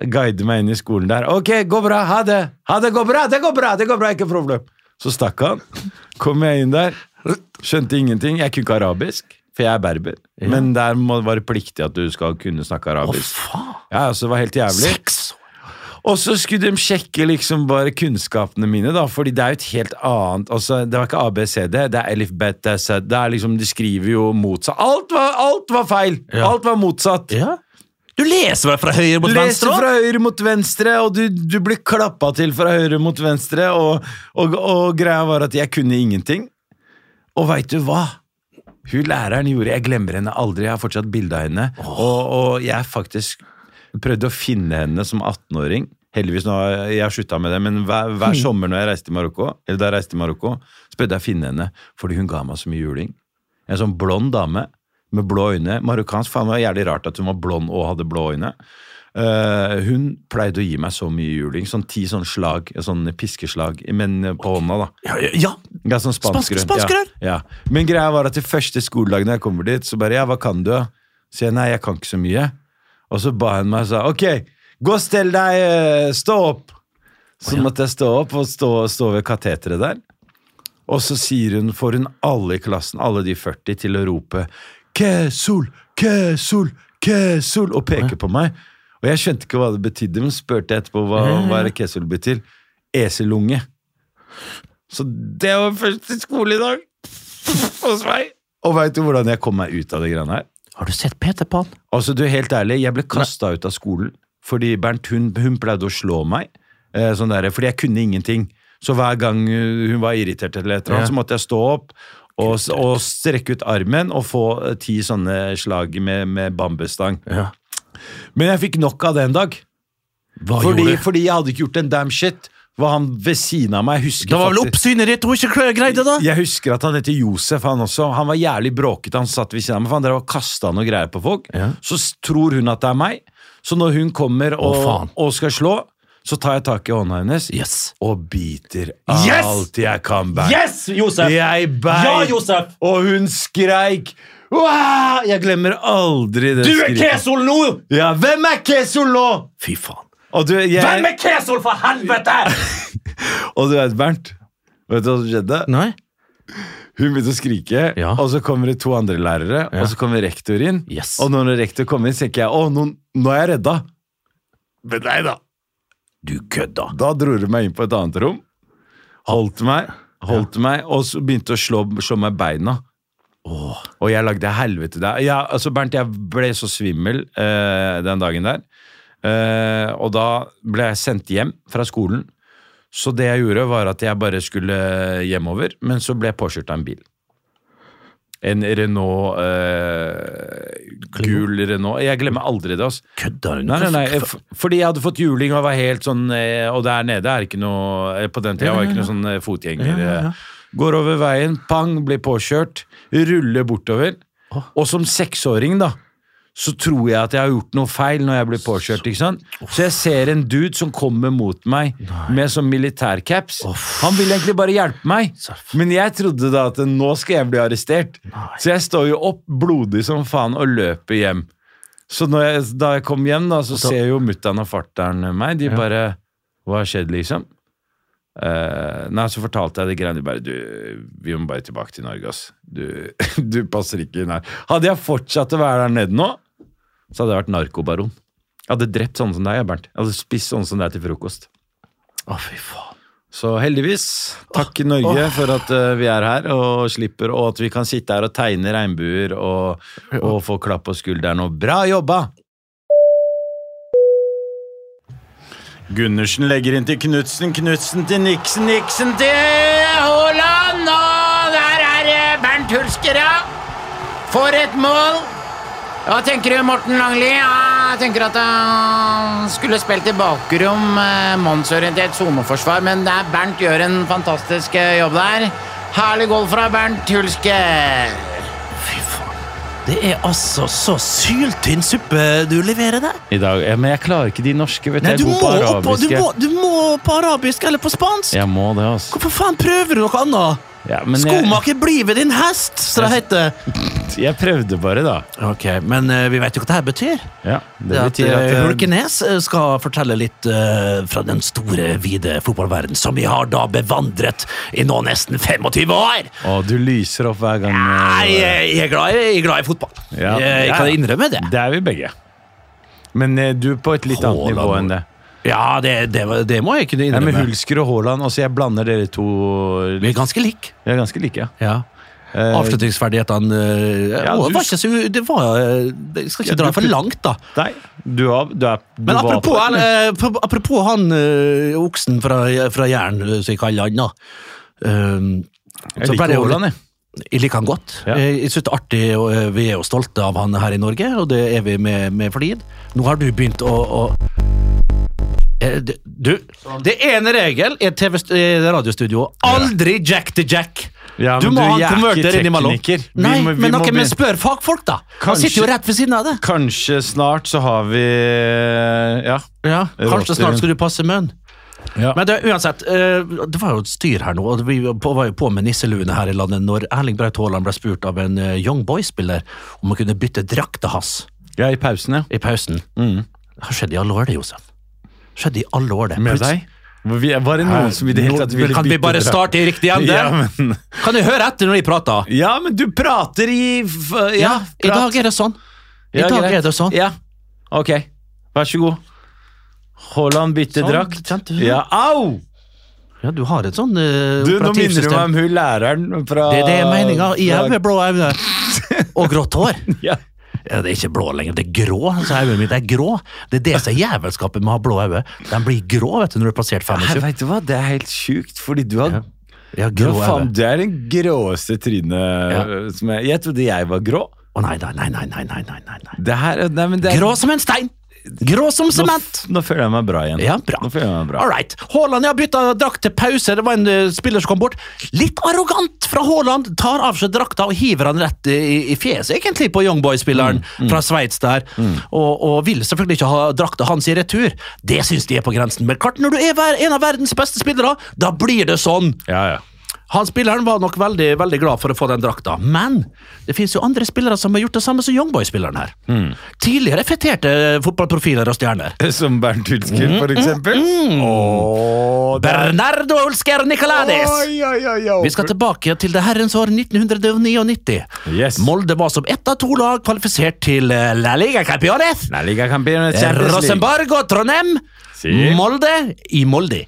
[SPEAKER 7] Guider meg inn i skolen der. Ok, gå bra, ha det! Ha det, gå bra! Det går bra! det går bra, Ikke problem. Så stakk han. Kom jeg inn der. Skjønte ingenting. Jeg kunne ikke arabisk, for jeg er berber. Men der må det være pliktig at du skal kunne snakke arabisk.
[SPEAKER 5] Faen!
[SPEAKER 7] Ja, altså, det var helt jævlig.
[SPEAKER 5] Seks år!
[SPEAKER 7] Og så skulle de sjekke liksom bare kunnskapene mine, da, fordi det er jo et helt annet altså, Det var ikke ABCD, det er Elif Bet, det er Z, det er liksom, De skriver jo motsatt. Alt var, alt var feil! Alt var motsatt.
[SPEAKER 5] Ja. Du leser vel fra høyre mot
[SPEAKER 7] Leser
[SPEAKER 5] venstre? også?
[SPEAKER 7] fra høyre mot venstre, og du, du blir klappa til fra høyre mot venstre, og, og, og greia var at jeg kunne ingenting. Og veit du hva? Hun læreren gjorde Jeg glemmer henne aldri, jeg har fortsatt bilde av henne. Og, og jeg faktisk prøvde å finne henne som 18-åring. Heldigvis nå har jeg- jeg har slutta med det, men hver, hver
[SPEAKER 5] Hmm.
[SPEAKER 7] sommer når jeg reiste til Marokko, eller da jeg reiste til Marokko, så prøvde jeg å finne henne, fordi hun ga meg så mye juling. En sånn blond dame med blå øyne. Marokkansk. Faen, det var jævlig rart at hun var blond og hadde blå øyne. Eh, hun pleide å gi meg så mye juling. Sånn ti sånn slag, sånn piskeslag, men eh, på hånda, da.
[SPEAKER 5] Ja, ja, ja.
[SPEAKER 7] Ja, sånn
[SPEAKER 5] Spansk-
[SPEAKER 7] spansk,
[SPEAKER 5] spansk
[SPEAKER 7] ja,
[SPEAKER 5] rør.
[SPEAKER 7] ja. Men greia var at de første skoledagene jeg kommer dit, så bare ja, hva kan du? Så jeg nei, jeg kan ikke så mye. Og så ba hun meg og sa ok, gå og stell deg, eh, stå opp. Så måtte jeg stå opp og stå, stå ved kateteret der. Og så sier hun, får hun alle i klassen, alle de 40, til å rope Kesol, Kesol, Kesol, og peke på meg. Og jeg skjønte ikke hva det betydde, men spurte etterpå hva, hva er det Kesol betyr. Eselunge. Så det var første skoledag hos meg. Og veit du hvordan jeg kom meg ut av det greiene her?
[SPEAKER 5] Har du sett Peter Pan?
[SPEAKER 7] Altså, du, helt ærlig, jeg ble kasta ut av skolen Fordi Bernt, hun, hun pleide å slå meg. Eh, sånn der, fordi jeg kunne ingenting. Så hver gang eh, hun var irritert, eller et eller annet,
[SPEAKER 5] Ja.
[SPEAKER 7] så måtte jeg stå opp og, s- og strekke ut armen og få eh, ti sånne slag med, med bambusstang.
[SPEAKER 5] Ja.
[SPEAKER 7] Men jeg fikk nok av det en dag.
[SPEAKER 5] Hva
[SPEAKER 7] Fordi,
[SPEAKER 5] gjorde
[SPEAKER 7] fordi jeg hadde ikke gjort en damn shit. Hva han ved siden av meg husker
[SPEAKER 5] Det var vel
[SPEAKER 7] faktisk-
[SPEAKER 5] oppsynet ditt hun ikke klø- greide, da?
[SPEAKER 7] jeg husker at han heter Josef, han også. Han var jævlig bråkete. Han satt ved siden av meg, for han drev og kasta noe greier på folk.
[SPEAKER 5] Ja.
[SPEAKER 7] Så s- tror hun at det er meg. Så når hun kommer og,
[SPEAKER 5] faen.
[SPEAKER 7] og skal slå, så tar jeg tak i hånda hennes
[SPEAKER 5] Yes.
[SPEAKER 7] og biter
[SPEAKER 5] Yes!
[SPEAKER 7] alt jeg kan bære.
[SPEAKER 5] Yes, Josef!
[SPEAKER 7] Jeg beit,
[SPEAKER 5] Ja, Josef!
[SPEAKER 7] og hun skreik. Wow! Jeg glemmer aldri det skriket.
[SPEAKER 5] Kesol nå!
[SPEAKER 7] Ja, hvem er Kesol nå?
[SPEAKER 5] Fy faen.
[SPEAKER 7] Og du, jeg,
[SPEAKER 5] er Kesol, for helvete?!
[SPEAKER 7] og du vet, Bernt, vet du hva som skjedde?
[SPEAKER 5] Nei?
[SPEAKER 7] Hun begynte å skrike,
[SPEAKER 5] Ja.
[SPEAKER 7] og så kommer det to andre lærere,
[SPEAKER 5] Ja.
[SPEAKER 7] og så kommer rektor inn.
[SPEAKER 5] Yes.
[SPEAKER 7] Og når rektor kommer inn, så tenker jeg å, nå, nå er jeg redda. Men nei da.
[SPEAKER 5] Du kødda.
[SPEAKER 7] Da dro de meg inn på et annet rom, holdt meg, holdt meg, og så begynte å slå, slå meg beina. Og jeg lagde helvete der. Ja, altså Bernt, jeg ble så svimmel eh, den dagen der. Eh, og da ble jeg sendt hjem fra skolen. Så det jeg gjorde, var at jeg bare skulle hjemover, men så ble jeg påkjørt av en bil. En Renault eh, Gul Renault. Jeg glemmer aldri det, altså.
[SPEAKER 5] Kødda du? nå?
[SPEAKER 7] Nei, nei, nei, f- fordi jeg hadde fått juling og var helt sånn eh, Og der nede er ikke noe eh, På den tida var det ikke noe sånn eh, fotgjenger eh. Går over veien, pang, blir påkjørt Ruller bortover Og som seksåring da Så tror jeg at jeg har gjort noe feil når jeg blir påkjørt ikke sant? Så jeg ser en dude som kommer mot meg Med sånn militærcaps Han vil egentlig bare hjelpe meg
[SPEAKER 5] Seff.
[SPEAKER 7] Men jeg trodde da at nå skal jeg bli arrestert Så jeg står jo opp blodig som faen Og løper hjem så når jeg, da jeg kom hjem, da, så ser jo mutter'n og farter'n meg. De bare Hva har skjedd, liksom? Eh, nei, så fortalte jeg det greiene. De bare Du, vi må bare tilbake til Norge, ass. Du, du passer ikke inn her. Hadde jeg fortsatt å være der nede nå, så hadde jeg vært narkobaron. Jeg hadde drept sånne som deg, Bernt. Jeg hadde spist sånne som deg til frokost.
[SPEAKER 5] Å, fy faen.
[SPEAKER 7] Så heldigvis, takk Norge for at eh, vi er her og slipper, og at vi kan sitte her og tegne regnbuer og, og få klapp på skulderen og bra jobba! Gundersen legger inn til Knutsen, Knutsen til Niksen, Niksen til
[SPEAKER 6] Haaland, og der er eh, Bernt Hulskera. For et mål! Hva tenker du, Morten Langli? Ja, jeg tenker at han skulle spilt i bakrom, eh, mannsorientert soneforsvar, men der Bernt gjør en fantastisk eh, jobb der. Herlig goal fra Bernt Hulsker.
[SPEAKER 5] Fy faen. Det er altså så syltynn suppe du leverer der.
[SPEAKER 7] I dag, ja, men jeg klarer ikke de norske, vet du,
[SPEAKER 5] Nei,
[SPEAKER 7] jeg
[SPEAKER 5] du
[SPEAKER 7] er
[SPEAKER 5] må,
[SPEAKER 7] god på
[SPEAKER 5] opp, på- du,
[SPEAKER 7] arabiske.
[SPEAKER 5] må, du må på arabisk eller på spansk!
[SPEAKER 7] Jeg må det, altså.
[SPEAKER 5] Hvorfor faen prøver du noe annet?
[SPEAKER 7] Ja, men
[SPEAKER 5] eh,
[SPEAKER 7] jeg,
[SPEAKER 5] Skomaker blir ved din hest, som det heter.
[SPEAKER 7] jeg prøvde bare da.
[SPEAKER 5] Ok, Men eh, vi vet jo hva dette betyr.
[SPEAKER 7] Ja, det
[SPEAKER 5] Det at,
[SPEAKER 7] betyr
[SPEAKER 5] eh,
[SPEAKER 7] at... eh,
[SPEAKER 5] Hulkenes eh, skal fortelle litt eh, fra den store, vide fotballverden som vi har da bevandret i nå nesten 25 år!
[SPEAKER 7] Å, du lyser opp hver gang. eh,
[SPEAKER 5] Nei, jeg jeg er glad, i- jeg er glad i fotball.
[SPEAKER 7] Ja.
[SPEAKER 5] Jeg, jeg kan
[SPEAKER 7] Ja.
[SPEAKER 5] innrømme det.
[SPEAKER 7] Det er vi begge. Men eh, du er på et litt annet
[SPEAKER 5] Haaland.
[SPEAKER 7] nivå enn det.
[SPEAKER 5] Ja, det, det, var- det må jeg kunne
[SPEAKER 7] Nei, men
[SPEAKER 5] innrømme.
[SPEAKER 7] Hulsker og Haaland, altså jeg blander dere to eh,
[SPEAKER 5] Vi er ganske like.
[SPEAKER 7] Vi er ganske like. ja.
[SPEAKER 5] Ja.
[SPEAKER 7] Eh,
[SPEAKER 5] Avslutningsferdighetene eh,
[SPEAKER 7] Ja,
[SPEAKER 5] å,
[SPEAKER 7] du-
[SPEAKER 5] var ikke så, Det var eh, Jeg skal
[SPEAKER 7] Ja,
[SPEAKER 5] ikke dra
[SPEAKER 7] du
[SPEAKER 5] for
[SPEAKER 7] putt-
[SPEAKER 5] langt, da.
[SPEAKER 7] Nei, du, har, du er du
[SPEAKER 5] Men
[SPEAKER 7] var
[SPEAKER 5] apropos,
[SPEAKER 7] på-
[SPEAKER 5] han, eh, pro- apropos han eh, oksen fra, fra Jæren, eh, som jeg kaller han, da. Um,
[SPEAKER 7] Jeg liker Haaland, jeg.
[SPEAKER 5] Jeg liker han godt.
[SPEAKER 7] Ja.
[SPEAKER 5] Eh, Jeg synes det er artig, og eh, Vi er jo stolte av han her i Norge, og det er vi med, med flid. Nå har du begynt å, å Eh, d- Du,
[SPEAKER 7] Sånn.
[SPEAKER 5] det ene regel i et TV st- i et radiostudio aldri jack to jack.
[SPEAKER 7] Ja,
[SPEAKER 5] du
[SPEAKER 7] men
[SPEAKER 5] må
[SPEAKER 7] du,
[SPEAKER 5] ha
[SPEAKER 7] jeg
[SPEAKER 5] en
[SPEAKER 7] er
[SPEAKER 5] konverter
[SPEAKER 7] ikke
[SPEAKER 5] innimellom.
[SPEAKER 7] tekniker. Vi
[SPEAKER 5] Nei,
[SPEAKER 7] må- vi
[SPEAKER 5] men,
[SPEAKER 7] må
[SPEAKER 5] ok, men
[SPEAKER 7] begynne-
[SPEAKER 5] spør fagfolk, da! Han sitter jo
[SPEAKER 7] Kanskje-
[SPEAKER 5] rett ved siden av det.
[SPEAKER 7] Kanskje snart så har vi eh, Ja.
[SPEAKER 5] Ja, Kanskje
[SPEAKER 7] Råter
[SPEAKER 5] snart
[SPEAKER 7] rundt.
[SPEAKER 5] skal du passe munn.
[SPEAKER 7] Ja.
[SPEAKER 5] Men det, uansett, eh, det var jo et styr her nå, og vi var på- var jo på med nisseluene her i landet når Erling Braut Haaland ble spurt av en eh, Young Boys-spiller om han kunne bytte drakta hans
[SPEAKER 7] ja, i pausen, ja.
[SPEAKER 5] i pausen.
[SPEAKER 7] Mm.
[SPEAKER 5] Det har skjedd i alle år, det, Josef. Skjedde i alle år, det.
[SPEAKER 7] Med
[SPEAKER 5] Plutselig-
[SPEAKER 7] deg. Hvor vi- Var det noen som i det hele tatt ville
[SPEAKER 5] Kan vi
[SPEAKER 7] bytte
[SPEAKER 5] bare
[SPEAKER 7] dra-
[SPEAKER 5] starte i riktig ende?
[SPEAKER 7] Ja, men,
[SPEAKER 5] Kan du høre etter når de prater?
[SPEAKER 7] ja, men du prater i f- Ja,
[SPEAKER 5] I
[SPEAKER 7] prat.
[SPEAKER 5] dag er det sånn. I
[SPEAKER 7] Ja,
[SPEAKER 5] dag
[SPEAKER 7] greit.
[SPEAKER 5] er det sånn.
[SPEAKER 7] Ja, ok. Vær så god. Haaland bytter
[SPEAKER 5] Sånn,
[SPEAKER 7] drakt.
[SPEAKER 5] kjente du det?
[SPEAKER 7] Ja, au!
[SPEAKER 5] Ja, du har et sånn eh,
[SPEAKER 7] Du, nå minner du meg
[SPEAKER 5] operativsystem.
[SPEAKER 7] om hun læreren fra
[SPEAKER 5] Det, det er meninga.
[SPEAKER 7] fra-
[SPEAKER 5] Igjen med blå øyne. Og Ah, grått hår.
[SPEAKER 7] Ja.
[SPEAKER 5] Ja, Det er ikke blå lenger, det er grå. Så øynene mine er grå. Det er det som er jævelskapet med å ha blå øyne. De blir grå vet du, når du har passert
[SPEAKER 7] Nei,
[SPEAKER 5] 25.
[SPEAKER 7] vet du hva, det er helt sjukt, fordi du har
[SPEAKER 5] Ja. Jeg har
[SPEAKER 7] du
[SPEAKER 5] grå
[SPEAKER 7] har faen,
[SPEAKER 5] øyne.
[SPEAKER 7] det er den gråeste trynet
[SPEAKER 5] Ja.
[SPEAKER 7] som jeg Jeg trodde jeg var grå.
[SPEAKER 5] Å nei, nei, nei, nei, nei, nei, nei, nei, nei.
[SPEAKER 7] Det her Nei, men det er
[SPEAKER 5] Grå som en stein! Grå som
[SPEAKER 7] Nå,
[SPEAKER 5] sement!
[SPEAKER 7] f- nå føler jeg meg bra igjen.
[SPEAKER 5] Ja, bra.
[SPEAKER 7] Nå føler jeg meg bra.
[SPEAKER 5] All right. Haaland jeg har bytta drakt til pause. Det var en eh, spiller som kom bort. Litt arrogant fra Haaland. Tar av seg drakta og hiver han rett i, i fjeset, egentlig, på Young Boys-spilleren
[SPEAKER 7] Mm,
[SPEAKER 5] fra Sveits der. Og, og vil selvfølgelig ikke ha drakta hans i retur. Det syns de er på grensen. Men klart, når du er ver- en av verdens beste spillere, da blir det sånn.
[SPEAKER 7] Ja, ja.
[SPEAKER 5] Han spilleren var nok veldig, veldig glad for å få den drakta, men det finnes jo andre spillere som har gjort det samme som Youngboy-spilleren her.
[SPEAKER 7] Mm.
[SPEAKER 5] Tidligere feterte fotballprofiler og stjerner.
[SPEAKER 7] Som Bernt Hulsker,
[SPEAKER 5] Mm,
[SPEAKER 7] for eksempel. Åh, det er-
[SPEAKER 5] Bernardo Olsker Nicolades!
[SPEAKER 7] Oi, oi, oi, oi.
[SPEAKER 5] Vi skal tilbake til det herrens år 1999.
[SPEAKER 7] Yes.
[SPEAKER 5] Molde var som ett av to lag kvalifisert til eh, La Liga Campeones.
[SPEAKER 7] La Liga Campeones
[SPEAKER 5] Eh,
[SPEAKER 7] Champions League.
[SPEAKER 5] Rosenborg og Trondheim.
[SPEAKER 7] Si.
[SPEAKER 5] Molde i Molde.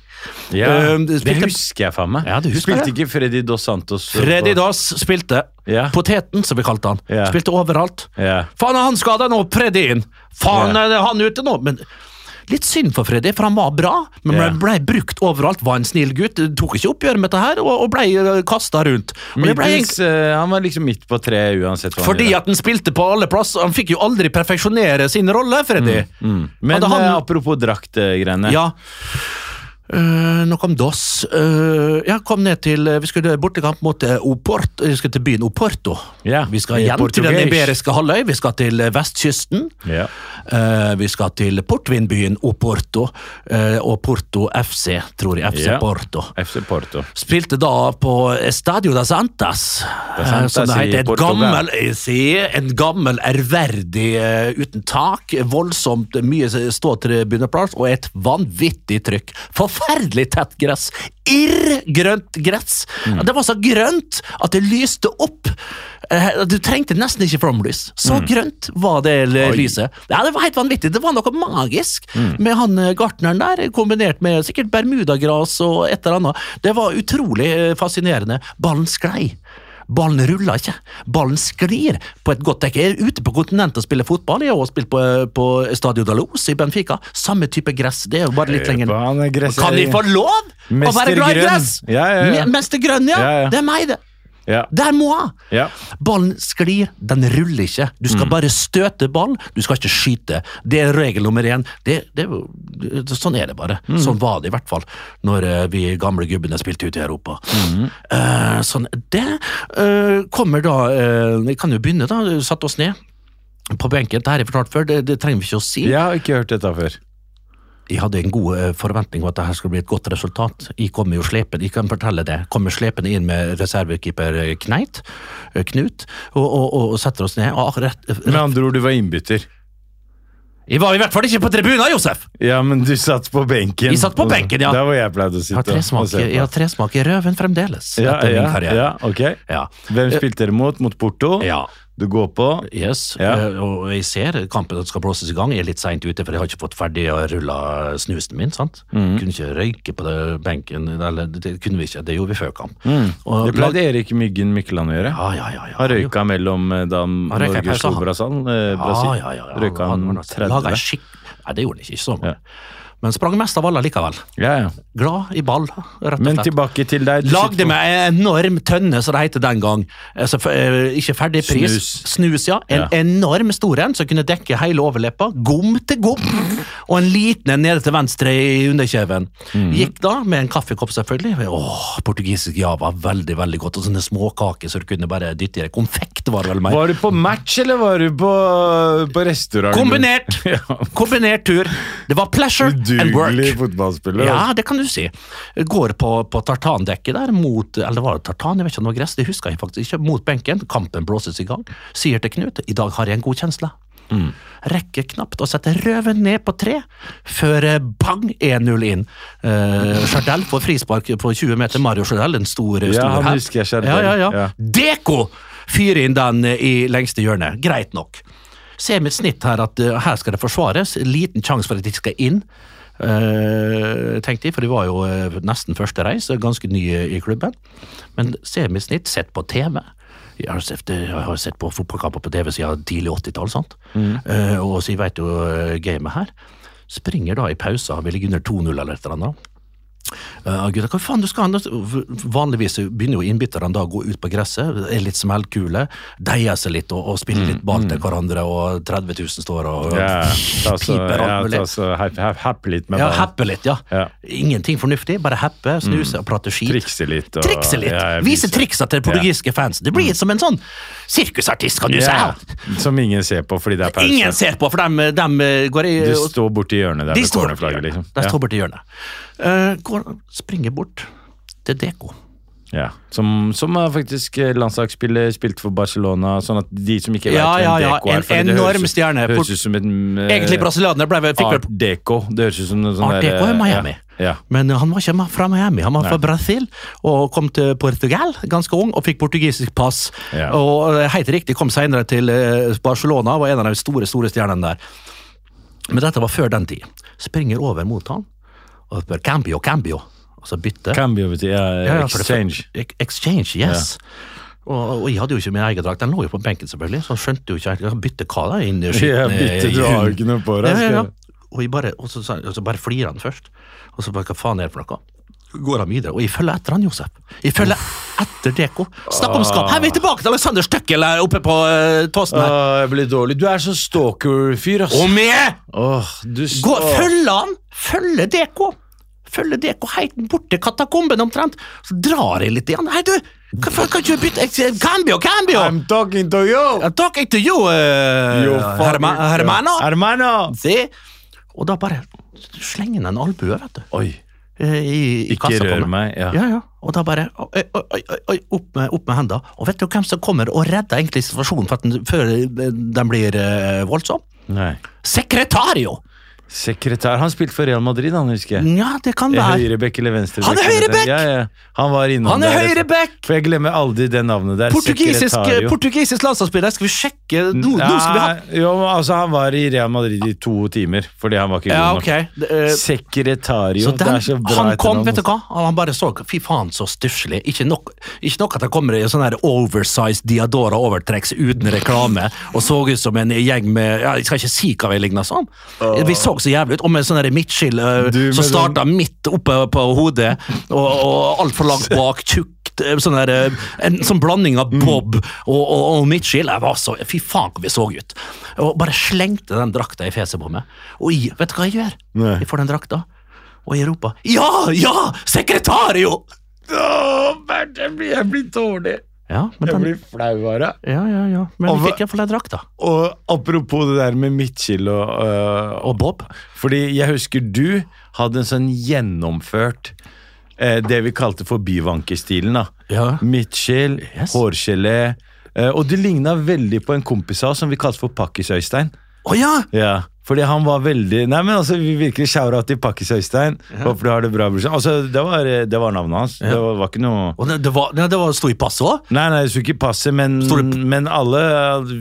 [SPEAKER 7] Ja,
[SPEAKER 5] Um,
[SPEAKER 7] det
[SPEAKER 5] spilte-
[SPEAKER 7] husker jeg faen meg.
[SPEAKER 5] Ja, det husker
[SPEAKER 7] spilte
[SPEAKER 5] jeg.
[SPEAKER 7] ikke Freddy Dos Santos
[SPEAKER 5] Freddy
[SPEAKER 7] på-
[SPEAKER 5] Dass spilte.
[SPEAKER 7] Ja.
[SPEAKER 5] Poteten, som vi kalte han.
[SPEAKER 7] Ja.
[SPEAKER 5] Spilte overalt.
[SPEAKER 7] Ja.
[SPEAKER 5] Faen, er han skada nå? Freddy inn! Faen,
[SPEAKER 7] Ja.
[SPEAKER 5] er han ute nå? Men Litt synd for Freddy, for han var bra, men
[SPEAKER 7] Ja.
[SPEAKER 5] ble, ble brukt overalt. Var en snill gutt, tok ikke oppgjør med dette her, og, og ble kasta rundt. Og det ble egentlig-
[SPEAKER 7] Middels, eh, han var liksom midt på treet uansett hva
[SPEAKER 5] Fordi
[SPEAKER 7] han gjorde.
[SPEAKER 5] at han spilte på alle plass, og han fikk jo aldri perfeksjonere sin rolle, Freddy.
[SPEAKER 7] Mm, Men
[SPEAKER 5] Hadde han-
[SPEAKER 7] eh, apropos draktgreiene.
[SPEAKER 5] Ja. Eh, nok om DOS. Eh, jeg kom ned til eh, Vi skulle bortekamp mot eh, Oporto. Vi skal til byen Oporto.
[SPEAKER 7] Ja,
[SPEAKER 5] Vi skal
[SPEAKER 7] i
[SPEAKER 5] igjen til den
[SPEAKER 7] Portugais.
[SPEAKER 5] iberiske halvøy. Vi skal til eh, vestkysten.
[SPEAKER 7] Ja.
[SPEAKER 5] Eh, vi skal til portvinbyen Oporto eh, og Porto FC, tror jeg. FC
[SPEAKER 7] Ja.
[SPEAKER 5] Porto.
[SPEAKER 7] FC Porto.
[SPEAKER 5] Spilte da på Estadio da Santas.
[SPEAKER 7] Da Santas
[SPEAKER 5] som det
[SPEAKER 7] i
[SPEAKER 5] heter. Et
[SPEAKER 7] Portugal.
[SPEAKER 5] gammel, jeg sier, en gammel, ærverdig eh, uten tak. Voldsomt mye ståtribuneplass og et vanvittig trykk. Forferdelig tett gress. Irrgrønt gress. Det var så grønt at det lyste opp. Eh, Du trengte nesten ikke flomlys. Så grønt var det l- lyset. Ja, Det var helt vanvittig. Det var noe magisk med han eh, gartneren der, kombinert med sikkert bermudagras og et eller annet. Det var utrolig eh, fascinerende. Ballen sklei. Ballen ruller ikke. Ballen sklir på et godt dekke. Jeg er ute på kontinentet og spiller fotball. Jeg har også spilt på, på Stadio Dalos i Benfica. Samme type gress. Det er jo bare litt lenger
[SPEAKER 7] på han, gresset-
[SPEAKER 5] Kan vi få lov å
[SPEAKER 7] Eh, Mester
[SPEAKER 5] være glad i
[SPEAKER 7] Grønn.
[SPEAKER 5] gress?
[SPEAKER 7] Ja, ja, ja.
[SPEAKER 5] Me- Mester Grønn, ja.
[SPEAKER 7] Ja, ja.
[SPEAKER 5] Det er meg, det.
[SPEAKER 7] Ja.
[SPEAKER 5] Det er moi.
[SPEAKER 7] Ja.
[SPEAKER 5] Ballen sklir, den ruller ikke. Du skal bare støte ball, du skal ikke skyte. Det er regel nummer én. Det, det, er jo- det- sånn er det bare. Sånn var det i hvert fall når eh, vi gamle gubbene spilte ute i Europa. Eh, sånn, det eh, kommer da eh, Vi kan jo begynne, da. Vi Satte oss ned på benken. Det her er fortalt før, det, det trenger vi ikke å si.
[SPEAKER 7] Jeg har ikke hørt dette før.
[SPEAKER 5] Jeg hadde en god eh, forventning om at det her skulle bli et godt resultat. Jeg kommer jo slepen, jeg kan fortelle det. Kommer slepen inn med reservekeeper eh, Kneit, eh, Knut, og, og, og, og setter oss ned. Ah, rett,
[SPEAKER 7] Med
[SPEAKER 5] rett.
[SPEAKER 7] andre ord, du var innbytter.
[SPEAKER 5] Jeg var i hvert fall ikke på tribunen, Josef!
[SPEAKER 7] Ja, men du satt på benken.
[SPEAKER 5] Jeg satt på benken, ja.
[SPEAKER 7] Der hvor jeg pleide å
[SPEAKER 5] Jeg
[SPEAKER 7] sitte.
[SPEAKER 5] har
[SPEAKER 7] og- og
[SPEAKER 5] tresmak
[SPEAKER 7] se på.
[SPEAKER 5] i- jeg har tresmak i røven fremdeles,
[SPEAKER 7] ja,
[SPEAKER 5] etter
[SPEAKER 7] ja,
[SPEAKER 5] min karriere.
[SPEAKER 7] Ja, ok.
[SPEAKER 5] Ja.
[SPEAKER 7] Hvem spilte dere mot? Mot Porto?
[SPEAKER 5] Eh, Ja.
[SPEAKER 7] Du går på?
[SPEAKER 5] Yes,
[SPEAKER 7] Ja.
[SPEAKER 5] eh, og jeg ser kampen skal blåses i gang. Jeg er litt seint ute, for jeg har ikke fått ferdig å rulle snusen min. sant?
[SPEAKER 7] Mm.
[SPEAKER 5] Kunne ikke røyke på det benken, eller det kunne vi ikke, det gjorde vi før kamp. Og
[SPEAKER 7] Det Mm. pleide Erik Myggen Mykland å gjøre.
[SPEAKER 5] Ja, ja, ja. ja.
[SPEAKER 7] Han røyka mellom eh, da
[SPEAKER 5] Han røyka i
[SPEAKER 7] Norge
[SPEAKER 5] pausa,
[SPEAKER 7] slo
[SPEAKER 5] han.
[SPEAKER 7] Brasil. eh, Brasil.
[SPEAKER 5] Ja, ja, ja, ja.
[SPEAKER 7] Røyka han
[SPEAKER 5] var- laget en
[SPEAKER 7] 30?
[SPEAKER 5] skikk... Nei, det gjorde han ikke. ikke så mange.
[SPEAKER 7] Ja.
[SPEAKER 5] Men sprang mest av alle likevel.
[SPEAKER 7] Ja, ja.
[SPEAKER 5] Glad i ball, rett og
[SPEAKER 7] Men
[SPEAKER 5] slett.
[SPEAKER 7] tilbake til deg. Du
[SPEAKER 5] Lagde
[SPEAKER 7] sitter på-
[SPEAKER 5] med en enorm tønne, som det het den gang. Altså, f- eh, ikke ferdig pris.
[SPEAKER 7] Snus.
[SPEAKER 5] Snus, ja. En
[SPEAKER 7] Ja.
[SPEAKER 5] enorm stor en som kunne dekke hele overleppa. Gom til gom. Og en liten en nede til venstre i underkjeven.
[SPEAKER 7] Mm.
[SPEAKER 5] Gikk da med en kaffekopp, selvfølgelig. Åh, portugisisk java. Veldig, veldig godt. Og sånne småkaker så du kunne bare dytte i deg. Konfekt var det vel mer.
[SPEAKER 7] Var du på match, eller var du på, på restaurant?
[SPEAKER 5] Kombinert! Kombinert tur. Det var pleasure and
[SPEAKER 7] Udugelig
[SPEAKER 5] work.
[SPEAKER 7] fotballspiller. altså.
[SPEAKER 5] Ja, det kan du si. Går på, på tartandekket der, mot, eller var det tartan, jeg vet ikke om det var gress, det husker jeg faktisk ikke, mot benken. Kampen blåses i gang. Sier til Knut, i dag har jeg en god kjensle. Rekker knapt å sette røven ned på tre før eh, bang 1-0 inn. Uh, Chardel får frispark på 20 meter. Mario Chardel, en stor, stor
[SPEAKER 7] Ja, han
[SPEAKER 5] her.
[SPEAKER 7] husker jeg, Chardel.
[SPEAKER 5] Ja, ja, ja.
[SPEAKER 7] Ja.
[SPEAKER 5] Deko fyrer inn den eh, i lengste hjørnet. Greit nok. Se mitt snitt her at eh, her skal det forsvares. Liten sjanse for at de skal inn. eh, tenkte jeg, for de var jo eh, nesten første reis, og ganske nye i klubben. Men se mitt snitt, sett på TV. Jeg har sett, jeg har sett på fotballkamper på TV siden tidlig 80-tall, sant?
[SPEAKER 7] Mm.
[SPEAKER 5] Eh, og så jeg vet jo eh, gamet her. Springer da i pausa, vi ligger under 2-0 eller et eller annet. Uh, gutta, hva faen du skal han? Vanligvis begynner jo innbytterne da å gå ut på gresset, er litt smellkule, deier seg litt og, og spiller litt ball til hverandre, og 30 000 står og, og
[SPEAKER 7] Mm, altså. Ja, ta så,
[SPEAKER 5] piper alt
[SPEAKER 7] ja,
[SPEAKER 5] mulig.
[SPEAKER 7] ta så happ, happ, happ litt med
[SPEAKER 5] Ja,
[SPEAKER 7] ballen.
[SPEAKER 5] happe litt, ja.
[SPEAKER 7] Ja. Mm.
[SPEAKER 5] Ingenting fornuftig, bare happe, snuse og prate skit.
[SPEAKER 7] Trikse litt. og-
[SPEAKER 5] Trikse litt!
[SPEAKER 7] Ja, jeg
[SPEAKER 5] Vise
[SPEAKER 7] viser-
[SPEAKER 5] triksa til portugisiske fans. Det blir som en sånn sirkusartist, kan du
[SPEAKER 7] Ja,
[SPEAKER 5] si!
[SPEAKER 7] som ingen ser på fordi det er pause.
[SPEAKER 5] Ingen ser på, for de, går i
[SPEAKER 7] Du står borti hjørnet der
[SPEAKER 5] De
[SPEAKER 7] med
[SPEAKER 5] står borti
[SPEAKER 7] cornerflagget, liksom.
[SPEAKER 5] De
[SPEAKER 7] Ja.
[SPEAKER 5] står borti hjørnet. Eh, går, springer bort til Deko.
[SPEAKER 7] Ja. Som, som er faktisk eh, landslagsspiller, spilte for Barcelona, sånn at de som ikke vet
[SPEAKER 5] Ja, ja,
[SPEAKER 7] hvem
[SPEAKER 5] ja,
[SPEAKER 7] Deco er
[SPEAKER 5] en
[SPEAKER 7] fordi det høres
[SPEAKER 5] enorm
[SPEAKER 7] ut-
[SPEAKER 5] stjerne. Port-
[SPEAKER 7] Høres ut som en eh,
[SPEAKER 5] Egentlig brasilianer, ble vel- fikk vel
[SPEAKER 7] Art Deco. Det høres ut som noe sånn
[SPEAKER 5] Art Deco er Miami.
[SPEAKER 7] Ja, ja.
[SPEAKER 5] Men eh, han var ikke fra Miami, han var fra Brasil og kom til Portugal ganske ung og fikk portugisisk pass.
[SPEAKER 7] Ja.
[SPEAKER 5] Og eh, helt riktig kom senere til eh, Barcelona, var en av de store store stjernene der. Men dette var før den tid. Springer over mot han og spør Cambio, Cambio. Altså bytte.
[SPEAKER 7] Cambio, vet du. Ja,
[SPEAKER 5] Ja, ja, for det-
[SPEAKER 7] exchange.
[SPEAKER 5] Ex- Exchange, yes. Og, og jeg hadde jo ikke min egen drakt, den lå jo på benken selvfølgelig, så han skjønte jo ikke helt, bytte hva da? Inn, i
[SPEAKER 7] Ja,
[SPEAKER 5] skitten, eh,
[SPEAKER 7] bytte, du har jo ikke noe på
[SPEAKER 5] ja,
[SPEAKER 7] deg.
[SPEAKER 5] ja,
[SPEAKER 7] skal
[SPEAKER 5] ja. Og, jeg bare, og, så, sa- og så bare flirer han først. Og så bare, hva faen er det for noe? Går han videre, og jeg følger etter han, Josef. Jeg følger etter Deko. Snakk om skap! Her er vi tilbake til Alexander Støkkel her oppe på eh, Tåsen
[SPEAKER 7] jeg-
[SPEAKER 5] her.
[SPEAKER 7] Åh, Ah, jeg blir dårlig. Du er så stalker-fyr, ass.
[SPEAKER 5] Om jeg!
[SPEAKER 7] Åh, du s-
[SPEAKER 5] Gå,
[SPEAKER 7] åh.
[SPEAKER 5] følg han! Følge DK! Følge DK helt bort til katakomben omtrent. Så drar jeg litt igjen. Hei, du! Hva faen kan ikke du bytte Jeg- Cambio, Cambio!
[SPEAKER 7] I'm talking to you!
[SPEAKER 5] I'm talking to you, eh,
[SPEAKER 7] You
[SPEAKER 5] Herma,
[SPEAKER 7] fucking-
[SPEAKER 5] Hermano.
[SPEAKER 7] Hermano!
[SPEAKER 5] Se! Og da bare slenger han en albue, vet du.
[SPEAKER 7] Oi.
[SPEAKER 5] eh, I, i
[SPEAKER 7] Ikke
[SPEAKER 5] kassa på
[SPEAKER 7] rør meg, ja.
[SPEAKER 5] ja, ja. Og da bare oi, oi, oi, oi, oi, opp, med, opp med henda. Og vet du hvem som kommer og redder egentlig situasjonen for at den, før den blir eh, voldsom?
[SPEAKER 7] Nei.
[SPEAKER 5] Sekretario!
[SPEAKER 7] Sekretær. Han spilte for Real Madrid, han, husker jeg.
[SPEAKER 5] Nja, det kan
[SPEAKER 7] Er
[SPEAKER 5] være.
[SPEAKER 7] Høyrebekk eller venstrebekk?
[SPEAKER 5] Han er
[SPEAKER 7] eller-
[SPEAKER 5] høyrebekk!
[SPEAKER 7] Ja, ja. Han var innom
[SPEAKER 5] Han er
[SPEAKER 7] der, altså.
[SPEAKER 5] høyrebekk!
[SPEAKER 7] For jeg glemmer aldri det navnet der.
[SPEAKER 5] Portugisisk, eh,
[SPEAKER 7] Sekretario.
[SPEAKER 5] portugisisk landslagsspiller, skal vi sjekke nå, nå skal vi ha
[SPEAKER 7] Nei, jo, men altså, han var i Real Madrid i to timer, fordi han var ikke
[SPEAKER 5] Ja,
[SPEAKER 7] god nok.
[SPEAKER 5] ok. Det, eh,
[SPEAKER 7] Sekretario.
[SPEAKER 5] så
[SPEAKER 7] det
[SPEAKER 5] den,
[SPEAKER 7] er så bra
[SPEAKER 5] han kom,
[SPEAKER 7] etternavn.
[SPEAKER 5] vet du hva? Han bare så Fy faen, så stusslig. Ikke, nok- ikke nok at han kommer i sånn her oversized Diadora-overtrekks uten reklame og så ut som en gjeng med ja, Jeg skal ikke si hva vi ligna som. Vi så så jævlig ut. Og med sånn her midtskill eh,
[SPEAKER 7] Du med sånn
[SPEAKER 5] som starta midt oppe på hodet og, og altfor langt bak. Tjukt. eh, Sånn der, eh, en sånn blanding av bob og, og, og midtskill. Jeg var så, fy faen, hvor vi så ut. Og bare slengte den drakta i fjeset på meg. Og jeg, vet du hva jeg gjør?
[SPEAKER 7] Nei.
[SPEAKER 5] Jeg får den drakta, og jeg roper 'ja, ja, sekretario'!
[SPEAKER 7] Åh, Bernt, jeg blir, jeg blir dårlig.
[SPEAKER 5] Ja, men
[SPEAKER 7] Jeg
[SPEAKER 5] den,
[SPEAKER 7] blir flau av det.
[SPEAKER 5] ja, ja, ja. Men
[SPEAKER 7] Og
[SPEAKER 5] vi
[SPEAKER 7] hva-
[SPEAKER 5] fikk iallfall den drakta.
[SPEAKER 7] Og apropos det der med midtskill og, øh,
[SPEAKER 5] Og bob.
[SPEAKER 7] Fordi jeg husker du hadde en sånn gjennomført eh, det vi kalte for byvankestilen. da.
[SPEAKER 5] Ja.
[SPEAKER 7] Midtskill,
[SPEAKER 5] Yes.
[SPEAKER 7] hårgelé. Eh, og du ligna veldig på en kompis av oss som vi kalte for Pakkis-Øystein.
[SPEAKER 5] Å ja!
[SPEAKER 7] Ja, fordi han var veldig Nei, men altså, vi virkelig shout-out til Pakkis Øystein. Håper du har det bra, brorsan. Altså, det var, det var navnet hans. Det var, var ikke noe
[SPEAKER 5] Og det, det, var, det, det var, sto i passet òg.
[SPEAKER 7] Nei, nei, det skulle ikke passe, men,
[SPEAKER 5] Store p-
[SPEAKER 7] men alle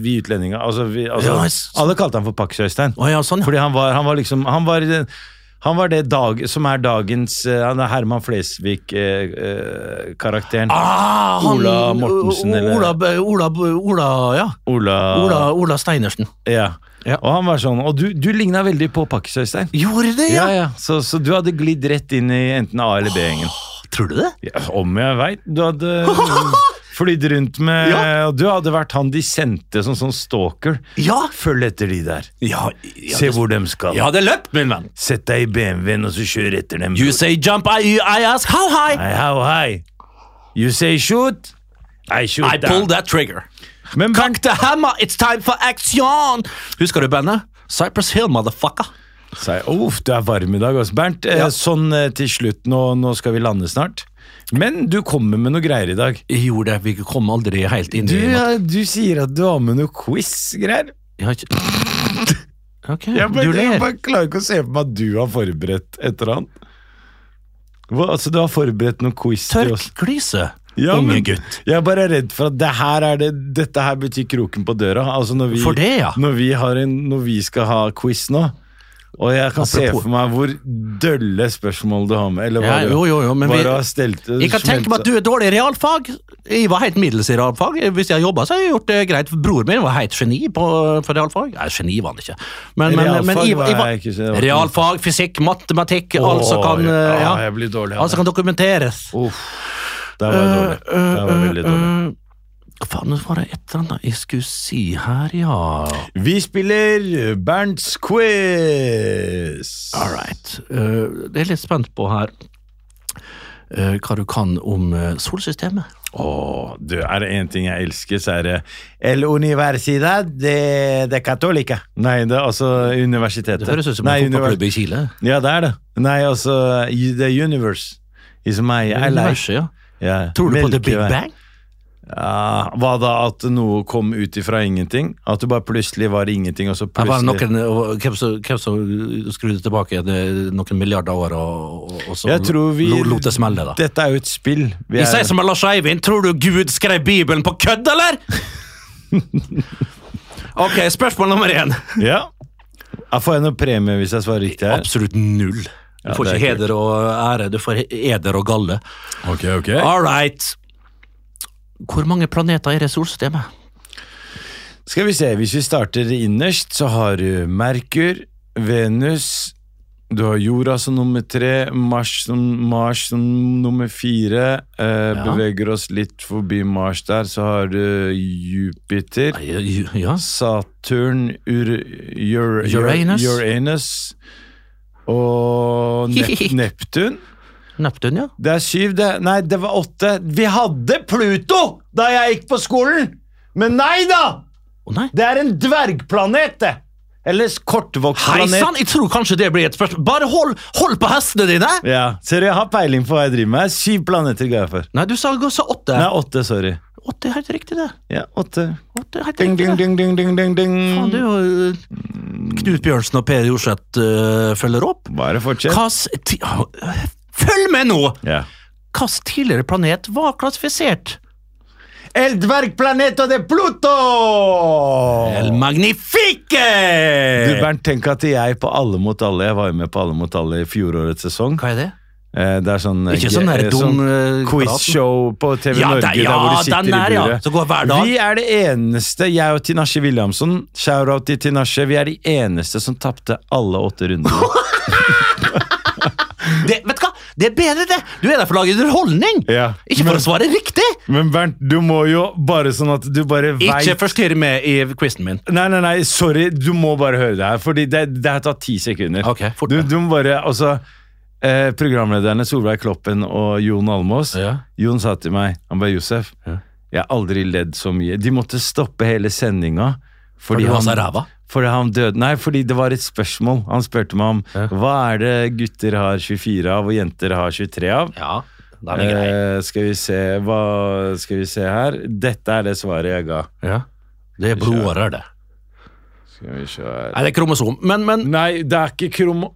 [SPEAKER 7] vi utlendinger altså, vi, altså,
[SPEAKER 5] Ja, s-
[SPEAKER 7] Alle kalte han for Pakkis Øystein.
[SPEAKER 5] Å ja, sånn, ja.
[SPEAKER 7] Fordi han var, han var liksom Han var, den- han var det dag, som er dagens eh, Han er Herman Flesvig-karakteren.
[SPEAKER 5] Ah, han,
[SPEAKER 7] Ola Mortensen, eller-
[SPEAKER 5] Ola, Ola, Ola, ja.
[SPEAKER 7] Ola,
[SPEAKER 5] Ola, Ola Steinersen.
[SPEAKER 7] Ja.
[SPEAKER 5] Ja.
[SPEAKER 7] Og han var sånn Og du, du ligna veldig på Pakkis Øystein.
[SPEAKER 5] Gjorde det, ja?
[SPEAKER 7] Ja, ja. Så, så du hadde glidd rett inn i enten A- eller B-gjengen.
[SPEAKER 5] Tror du det?
[SPEAKER 7] Ja, om jeg veit. Du hadde flydd rundt med Og du hadde vært han de sendte som sånn stalker.
[SPEAKER 5] Ja!
[SPEAKER 7] Følg etter de der.
[SPEAKER 5] ja, ja
[SPEAKER 7] Se
[SPEAKER 5] det-
[SPEAKER 7] hvor de skal.
[SPEAKER 5] Jeg hadde løpt, min venn.
[SPEAKER 7] Sett deg i BMW-en og så kjør etter dem.
[SPEAKER 5] You say jump, I, I ask how high.
[SPEAKER 7] Hei, how high? You say shoot? I shoot
[SPEAKER 5] I pull that trigger.
[SPEAKER 7] Men
[SPEAKER 5] Cock the hammer, it's time for action! Husker du bandet? Cypress Hill, motherfucker.
[SPEAKER 7] Sier, Uff, du er varm i dag også, Bernt. Eh, Sånn eh, til slutt, nå, nå skal vi lande snart. Men du kommer med noe greier i dag.
[SPEAKER 5] Jeg gjorde det, vi kom aldri helt inn
[SPEAKER 7] Du,
[SPEAKER 5] i
[SPEAKER 7] ja, du sier at du har med noe quiz-greier.
[SPEAKER 5] Jeg har ikke... Ok, du
[SPEAKER 7] Jeg bare, jeg
[SPEAKER 5] ler.
[SPEAKER 7] bare klarer ikke å se for meg at du har forberedt et eller annet. Hva, altså, du har forberedt noen quiz til oss?
[SPEAKER 5] Tørk glise,
[SPEAKER 7] Ja,
[SPEAKER 5] unge
[SPEAKER 7] men-
[SPEAKER 5] gutt.
[SPEAKER 7] Jeg er bare redd for at det her er det, dette her betyr kroken på døra. Altså når vi,
[SPEAKER 5] For det, ja.
[SPEAKER 7] når vi, har en, når vi skal ha quiz nå, Og jeg kan se
[SPEAKER 5] Apropos-
[SPEAKER 7] for meg hvor dølle spørsmål du har med. Eller
[SPEAKER 5] Ja,
[SPEAKER 7] bare,
[SPEAKER 5] jo, jo, jo, men vi-
[SPEAKER 7] bare har stelt
[SPEAKER 5] Jeg kan tenke meg at du er dårlig i realfag. Jeg var helt middels i realfag. Hvis jeg hadde jobba, så hadde jeg gjort det greit. Broren min var helt geni på, for realfag. Nei, geni var han ikke. Men, men,
[SPEAKER 7] Realfag
[SPEAKER 5] men jeg,
[SPEAKER 7] var
[SPEAKER 5] jeg var,
[SPEAKER 7] jeg ikke, så det var ikke-
[SPEAKER 5] realfag, fysikk, matematikk, alt som
[SPEAKER 7] Åh,
[SPEAKER 5] kan,
[SPEAKER 7] altså ja, Altså
[SPEAKER 5] eh, ja,
[SPEAKER 7] jeg blir dårlig av
[SPEAKER 5] alt som kan dokumenteres.
[SPEAKER 7] Uff. Der var jeg dårlig. Der var jeg veldig dårlig.
[SPEAKER 5] Eh, Hva faen var det et eller annet jeg skulle si her, ja
[SPEAKER 7] Vi spiller Bernts quiz!
[SPEAKER 5] All right. Eh, det er litt spent på her eh, hva du kan om eh, solsystemet.
[SPEAKER 7] Åh, du, er det én ting jeg elsker, så er det El Universidad de, de Catolica. Nei, det er altså universitetet.
[SPEAKER 5] Det høres ut som
[SPEAKER 7] Nei,
[SPEAKER 5] en
[SPEAKER 7] univers-
[SPEAKER 5] fotballklubb i Chile.
[SPEAKER 7] Ja, det er det. Nei, altså y- The Universe is my I like.
[SPEAKER 5] Universet, ja.
[SPEAKER 7] Ja,
[SPEAKER 5] Tror du på The Big
[SPEAKER 7] Melkevei.
[SPEAKER 5] Bang?
[SPEAKER 7] Ja, hva da at noe kom ut ifra ingenting? At du bare plutselig var ingenting, og så
[SPEAKER 5] Det var
[SPEAKER 7] plutselig
[SPEAKER 5] noen, og hvem som, hvem som skrudde tilbake igjen, eh, noen milliarder år og, og, og så
[SPEAKER 7] Jeg tror vi
[SPEAKER 5] lo- lot det smelle, da.
[SPEAKER 7] Dette er jo et spill. Vi
[SPEAKER 5] Jeg
[SPEAKER 7] er-
[SPEAKER 5] sier som med Lars Eivind, tror du Gud skrev Bibelen på kødd, eller?! ok, spørsmål nummer én.
[SPEAKER 7] Ja. Jeg får jeg noe premie hvis jeg svarer riktig her?
[SPEAKER 5] Absolutt null. Du
[SPEAKER 7] Ja,
[SPEAKER 5] får
[SPEAKER 7] det er
[SPEAKER 5] ikke heder og ære, du får he- eder og galle.
[SPEAKER 7] Ok, ok.
[SPEAKER 5] All right. Hvor mange planeter er det i solsystemet?
[SPEAKER 7] Skal vi se, hvis vi starter innerst, så har du Merkur, Venus, du har jorda som nummer tre, Mars som, Mars som nummer fire, eh,
[SPEAKER 5] Ja.
[SPEAKER 7] beveger oss litt forbi Mars der, så har du Jupiter,
[SPEAKER 5] Nei, ju- Ja.
[SPEAKER 7] Saturn, Ur, Ur, Ur-
[SPEAKER 5] Uranus.
[SPEAKER 7] Uranus og Nep Neptun.
[SPEAKER 5] Neptun, ja.
[SPEAKER 7] Det er syv, det. Nei, det var åtte. Vi hadde Pluto da jeg gikk på skolen! Men nei da!
[SPEAKER 5] Å nei.
[SPEAKER 7] Det er en dvergplanet, det! Eller s- kortvokst
[SPEAKER 5] Hei
[SPEAKER 7] planet.
[SPEAKER 5] sann, jeg tror kanskje det blir et spørsmål. Bare hold, hold på hestene dine!
[SPEAKER 7] Ja, Ser du, jeg har peiling på hva jeg driver med. Syv planeter ga jeg for.
[SPEAKER 5] Nei, du sa, sa åtte.
[SPEAKER 7] Nei, åtte. Sorry.
[SPEAKER 5] Åtte er helt riktig, det.
[SPEAKER 7] Ja, åtte.
[SPEAKER 5] Åtte er helt
[SPEAKER 7] Ding,
[SPEAKER 5] riktig, det.
[SPEAKER 7] ding, ding, ding, ding, ding, ding.
[SPEAKER 5] Faen, det er jo, eh, Knut Bjørnsen og Per Jorseth eh, følger opp.
[SPEAKER 7] Bare fortsett.
[SPEAKER 5] Hvilken ti ah, Følg med nå!
[SPEAKER 7] Ja.
[SPEAKER 5] Hvilken tidligere planet var klassifisert?
[SPEAKER 7] El dvergplaneta de Pluto!
[SPEAKER 5] El Magnifique!
[SPEAKER 7] Du,
[SPEAKER 5] Eh.
[SPEAKER 7] Bernt, tenk at jeg på Alle mot alle Jeg var jo med på Alle mot alle i fjorårets sesong.
[SPEAKER 5] Hva er det?
[SPEAKER 7] Eh, Det er sånn
[SPEAKER 5] Ikke
[SPEAKER 7] eh,
[SPEAKER 5] sånn der
[SPEAKER 7] eh,
[SPEAKER 5] dum, eh,
[SPEAKER 7] quizshow på TV
[SPEAKER 5] Ja,
[SPEAKER 7] Norge
[SPEAKER 5] det- ja,
[SPEAKER 7] der hvor du sitter
[SPEAKER 5] den der,
[SPEAKER 7] i
[SPEAKER 5] ja,
[SPEAKER 7] buret.
[SPEAKER 5] som går hver dag.
[SPEAKER 7] Vi er det eneste, jeg og Tinashe Williamson, shout-out til Tinashe, vi er de eneste som tapte alle åtte rundene.
[SPEAKER 5] det? Vet du hva? Det er bedre, det! Du er der for å lage underholdning!
[SPEAKER 7] Ja,
[SPEAKER 5] Ikke for
[SPEAKER 7] men-
[SPEAKER 5] å svare riktig!
[SPEAKER 7] Men Bernt, du må jo bare sånn at du bare
[SPEAKER 5] Ikke forstyrr meg i quizen min.
[SPEAKER 7] Nei, nei, nei, sorry, du må bare høre det her, fordi det, det her tar ti sekunder.
[SPEAKER 5] Ok, fort
[SPEAKER 7] du,
[SPEAKER 5] med.
[SPEAKER 7] du må bare, altså, eh, programlederne Solveig Kloppen og Jon Almås,
[SPEAKER 5] Ja.
[SPEAKER 7] Jon sa til meg, han bare, Josef, jeg har aldri ledd så mye. De måtte stoppe hele sendinga.
[SPEAKER 5] du var så ræva?
[SPEAKER 7] Fordi han døde, nei, fordi det var et spørsmål. Han spurte meg om, hva er det gutter har 24 av, og jenter har 23 av?
[SPEAKER 5] Ja, den er grei.
[SPEAKER 7] Eh, skal vi se, hva skal vi se her? Dette er det svaret jeg ga.
[SPEAKER 5] Eh, Ja. Det er blodårer, det.
[SPEAKER 7] Skal vi se her.
[SPEAKER 5] Nei, det er kromosom. Men, men
[SPEAKER 7] Nei, det er ikke kromo...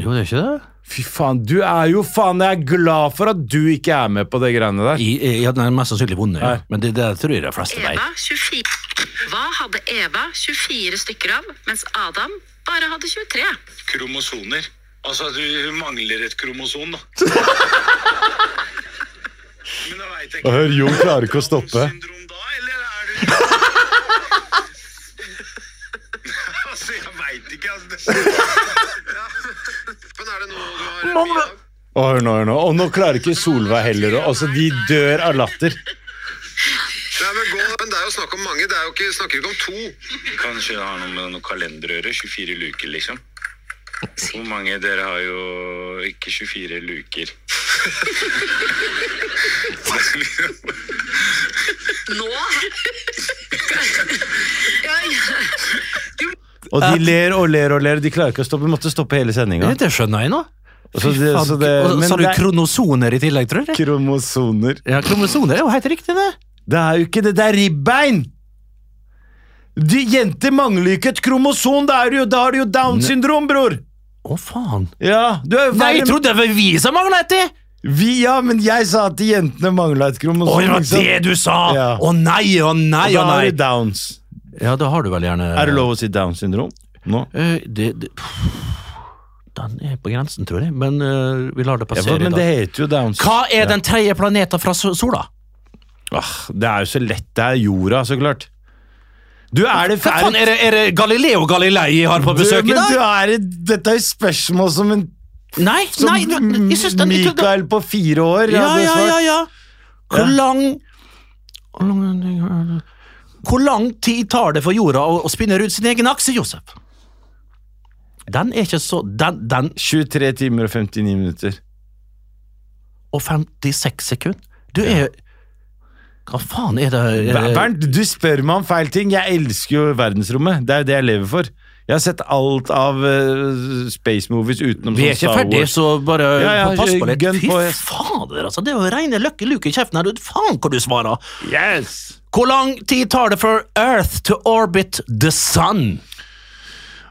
[SPEAKER 5] Jo, det er ikke det?
[SPEAKER 7] Fy faen, du er jo faen Jeg er glad for at du ikke er med på det greiene der.
[SPEAKER 5] I, i, ja, den er mest sannsynlig vond, ja.
[SPEAKER 7] Nei.
[SPEAKER 5] men det, det tror jeg de fleste vet.
[SPEAKER 8] Eva 24. Hva hadde Eva 24 stykker av, mens Adam bare hadde 23?
[SPEAKER 9] kromosoner. Altså at hun mangler et kromosom, da. Men da vet jeg ikke.
[SPEAKER 7] Hør, Jon klarer ikke å stoppe.
[SPEAKER 9] Syndrom da, eller er du Altså, jeg veit ikke, altså. Ja. Men er det noe du har mye av?
[SPEAKER 7] Og hør nå, hør nå. Og nå klarer ikke Solveig heller å Altså, de dør av latter.
[SPEAKER 9] Nei, men, gå, men det er jo snakk om mange, det er jo ikke, snakker ikke om to. Kanskje det har noe med noe kalender å gjøre. 24 luker, liksom. Hvor mange dere har jo ikke 24 luker?
[SPEAKER 8] Nå? ja, ja.
[SPEAKER 7] Og de ler og ler og ler. De klarer ikke å stoppe. Vi måtte stoppe hele sendinga.
[SPEAKER 5] Ja, det skjønner jeg nå.
[SPEAKER 7] Så det- så det-
[SPEAKER 5] og så
[SPEAKER 7] men
[SPEAKER 5] sa du
[SPEAKER 7] det er-
[SPEAKER 5] kronosoner i tillegg, tror jeg.
[SPEAKER 7] Kromosoner.
[SPEAKER 5] Ja, kromosoner er jo helt riktig, det.
[SPEAKER 7] Det er jo ikke det. Det er ribbein! De Jenter mangler jo ikke et kromosom. Da er det jo, da har du jo Downs syndrom, bror!
[SPEAKER 5] Å, faen.
[SPEAKER 7] Ja, du er
[SPEAKER 5] Nei, jeg trodde det var vi som manglet etter!
[SPEAKER 7] Vi, ja, men jeg sa at jentene mangla et kromosom.
[SPEAKER 5] Å, det var
[SPEAKER 7] ikke sant?
[SPEAKER 5] det du sa!
[SPEAKER 7] Ja.
[SPEAKER 5] Å nei, å nei,
[SPEAKER 7] Og
[SPEAKER 5] å
[SPEAKER 7] da har du
[SPEAKER 5] nei.
[SPEAKER 7] Downs.
[SPEAKER 5] Ja, da har du vel gjerne
[SPEAKER 7] Er det lov å si Downs syndrom? Nå.
[SPEAKER 5] Eh, det, det pff, Den er på grensen, tror jeg, men eh, vi lar det
[SPEAKER 7] Ja,
[SPEAKER 5] passere
[SPEAKER 7] men
[SPEAKER 5] i
[SPEAKER 7] det
[SPEAKER 5] dag.
[SPEAKER 7] heter jo Downs.
[SPEAKER 5] Hva er den tredje planeten fra so- sola?
[SPEAKER 7] Ah, det er jo så lett. Det er jorda, så klart. Du er det
[SPEAKER 5] Hva faen, er det, er det Galileo Galilei jeg har på besøk
[SPEAKER 7] du,
[SPEAKER 5] i dag?
[SPEAKER 7] Men du er det, dette er jo spørsmål som en
[SPEAKER 5] Nei,
[SPEAKER 7] som
[SPEAKER 5] nei, du- jeg synes den jeg trodde-
[SPEAKER 7] Mikael på fire år
[SPEAKER 5] Ja,
[SPEAKER 7] hadde
[SPEAKER 5] ja,
[SPEAKER 7] svart.
[SPEAKER 5] ja, ja. Hvor
[SPEAKER 7] Ja.
[SPEAKER 5] lang Hvor lang- Hvor lang tid tar det for jorda å, å spinne rundt sin egen akse, Josef? Den er ikke så Den, den
[SPEAKER 7] 23 timer og 59 minutter.
[SPEAKER 5] og 56 sekunder. Du er Hva faen er det er det-
[SPEAKER 7] Bernt, du spør meg om feil ting. Jeg elsker jo verdensrommet. Det er jo det jeg lever for. Jeg har sett alt av eh, space movies utenom
[SPEAKER 5] Vi er
[SPEAKER 7] sånn
[SPEAKER 5] ikke
[SPEAKER 7] Star
[SPEAKER 5] ferdige,
[SPEAKER 7] Wars.
[SPEAKER 5] så bare
[SPEAKER 7] Ja, ja,
[SPEAKER 5] pass på litt.
[SPEAKER 7] gønn
[SPEAKER 5] Fy
[SPEAKER 7] på, ja.
[SPEAKER 5] fader, altså. Det er jo rene Lucky Luke i kjeften her. Du, faen hva du svarer.
[SPEAKER 7] Yes!
[SPEAKER 5] Hvor lang tid tar det for Earth to orbit the sun?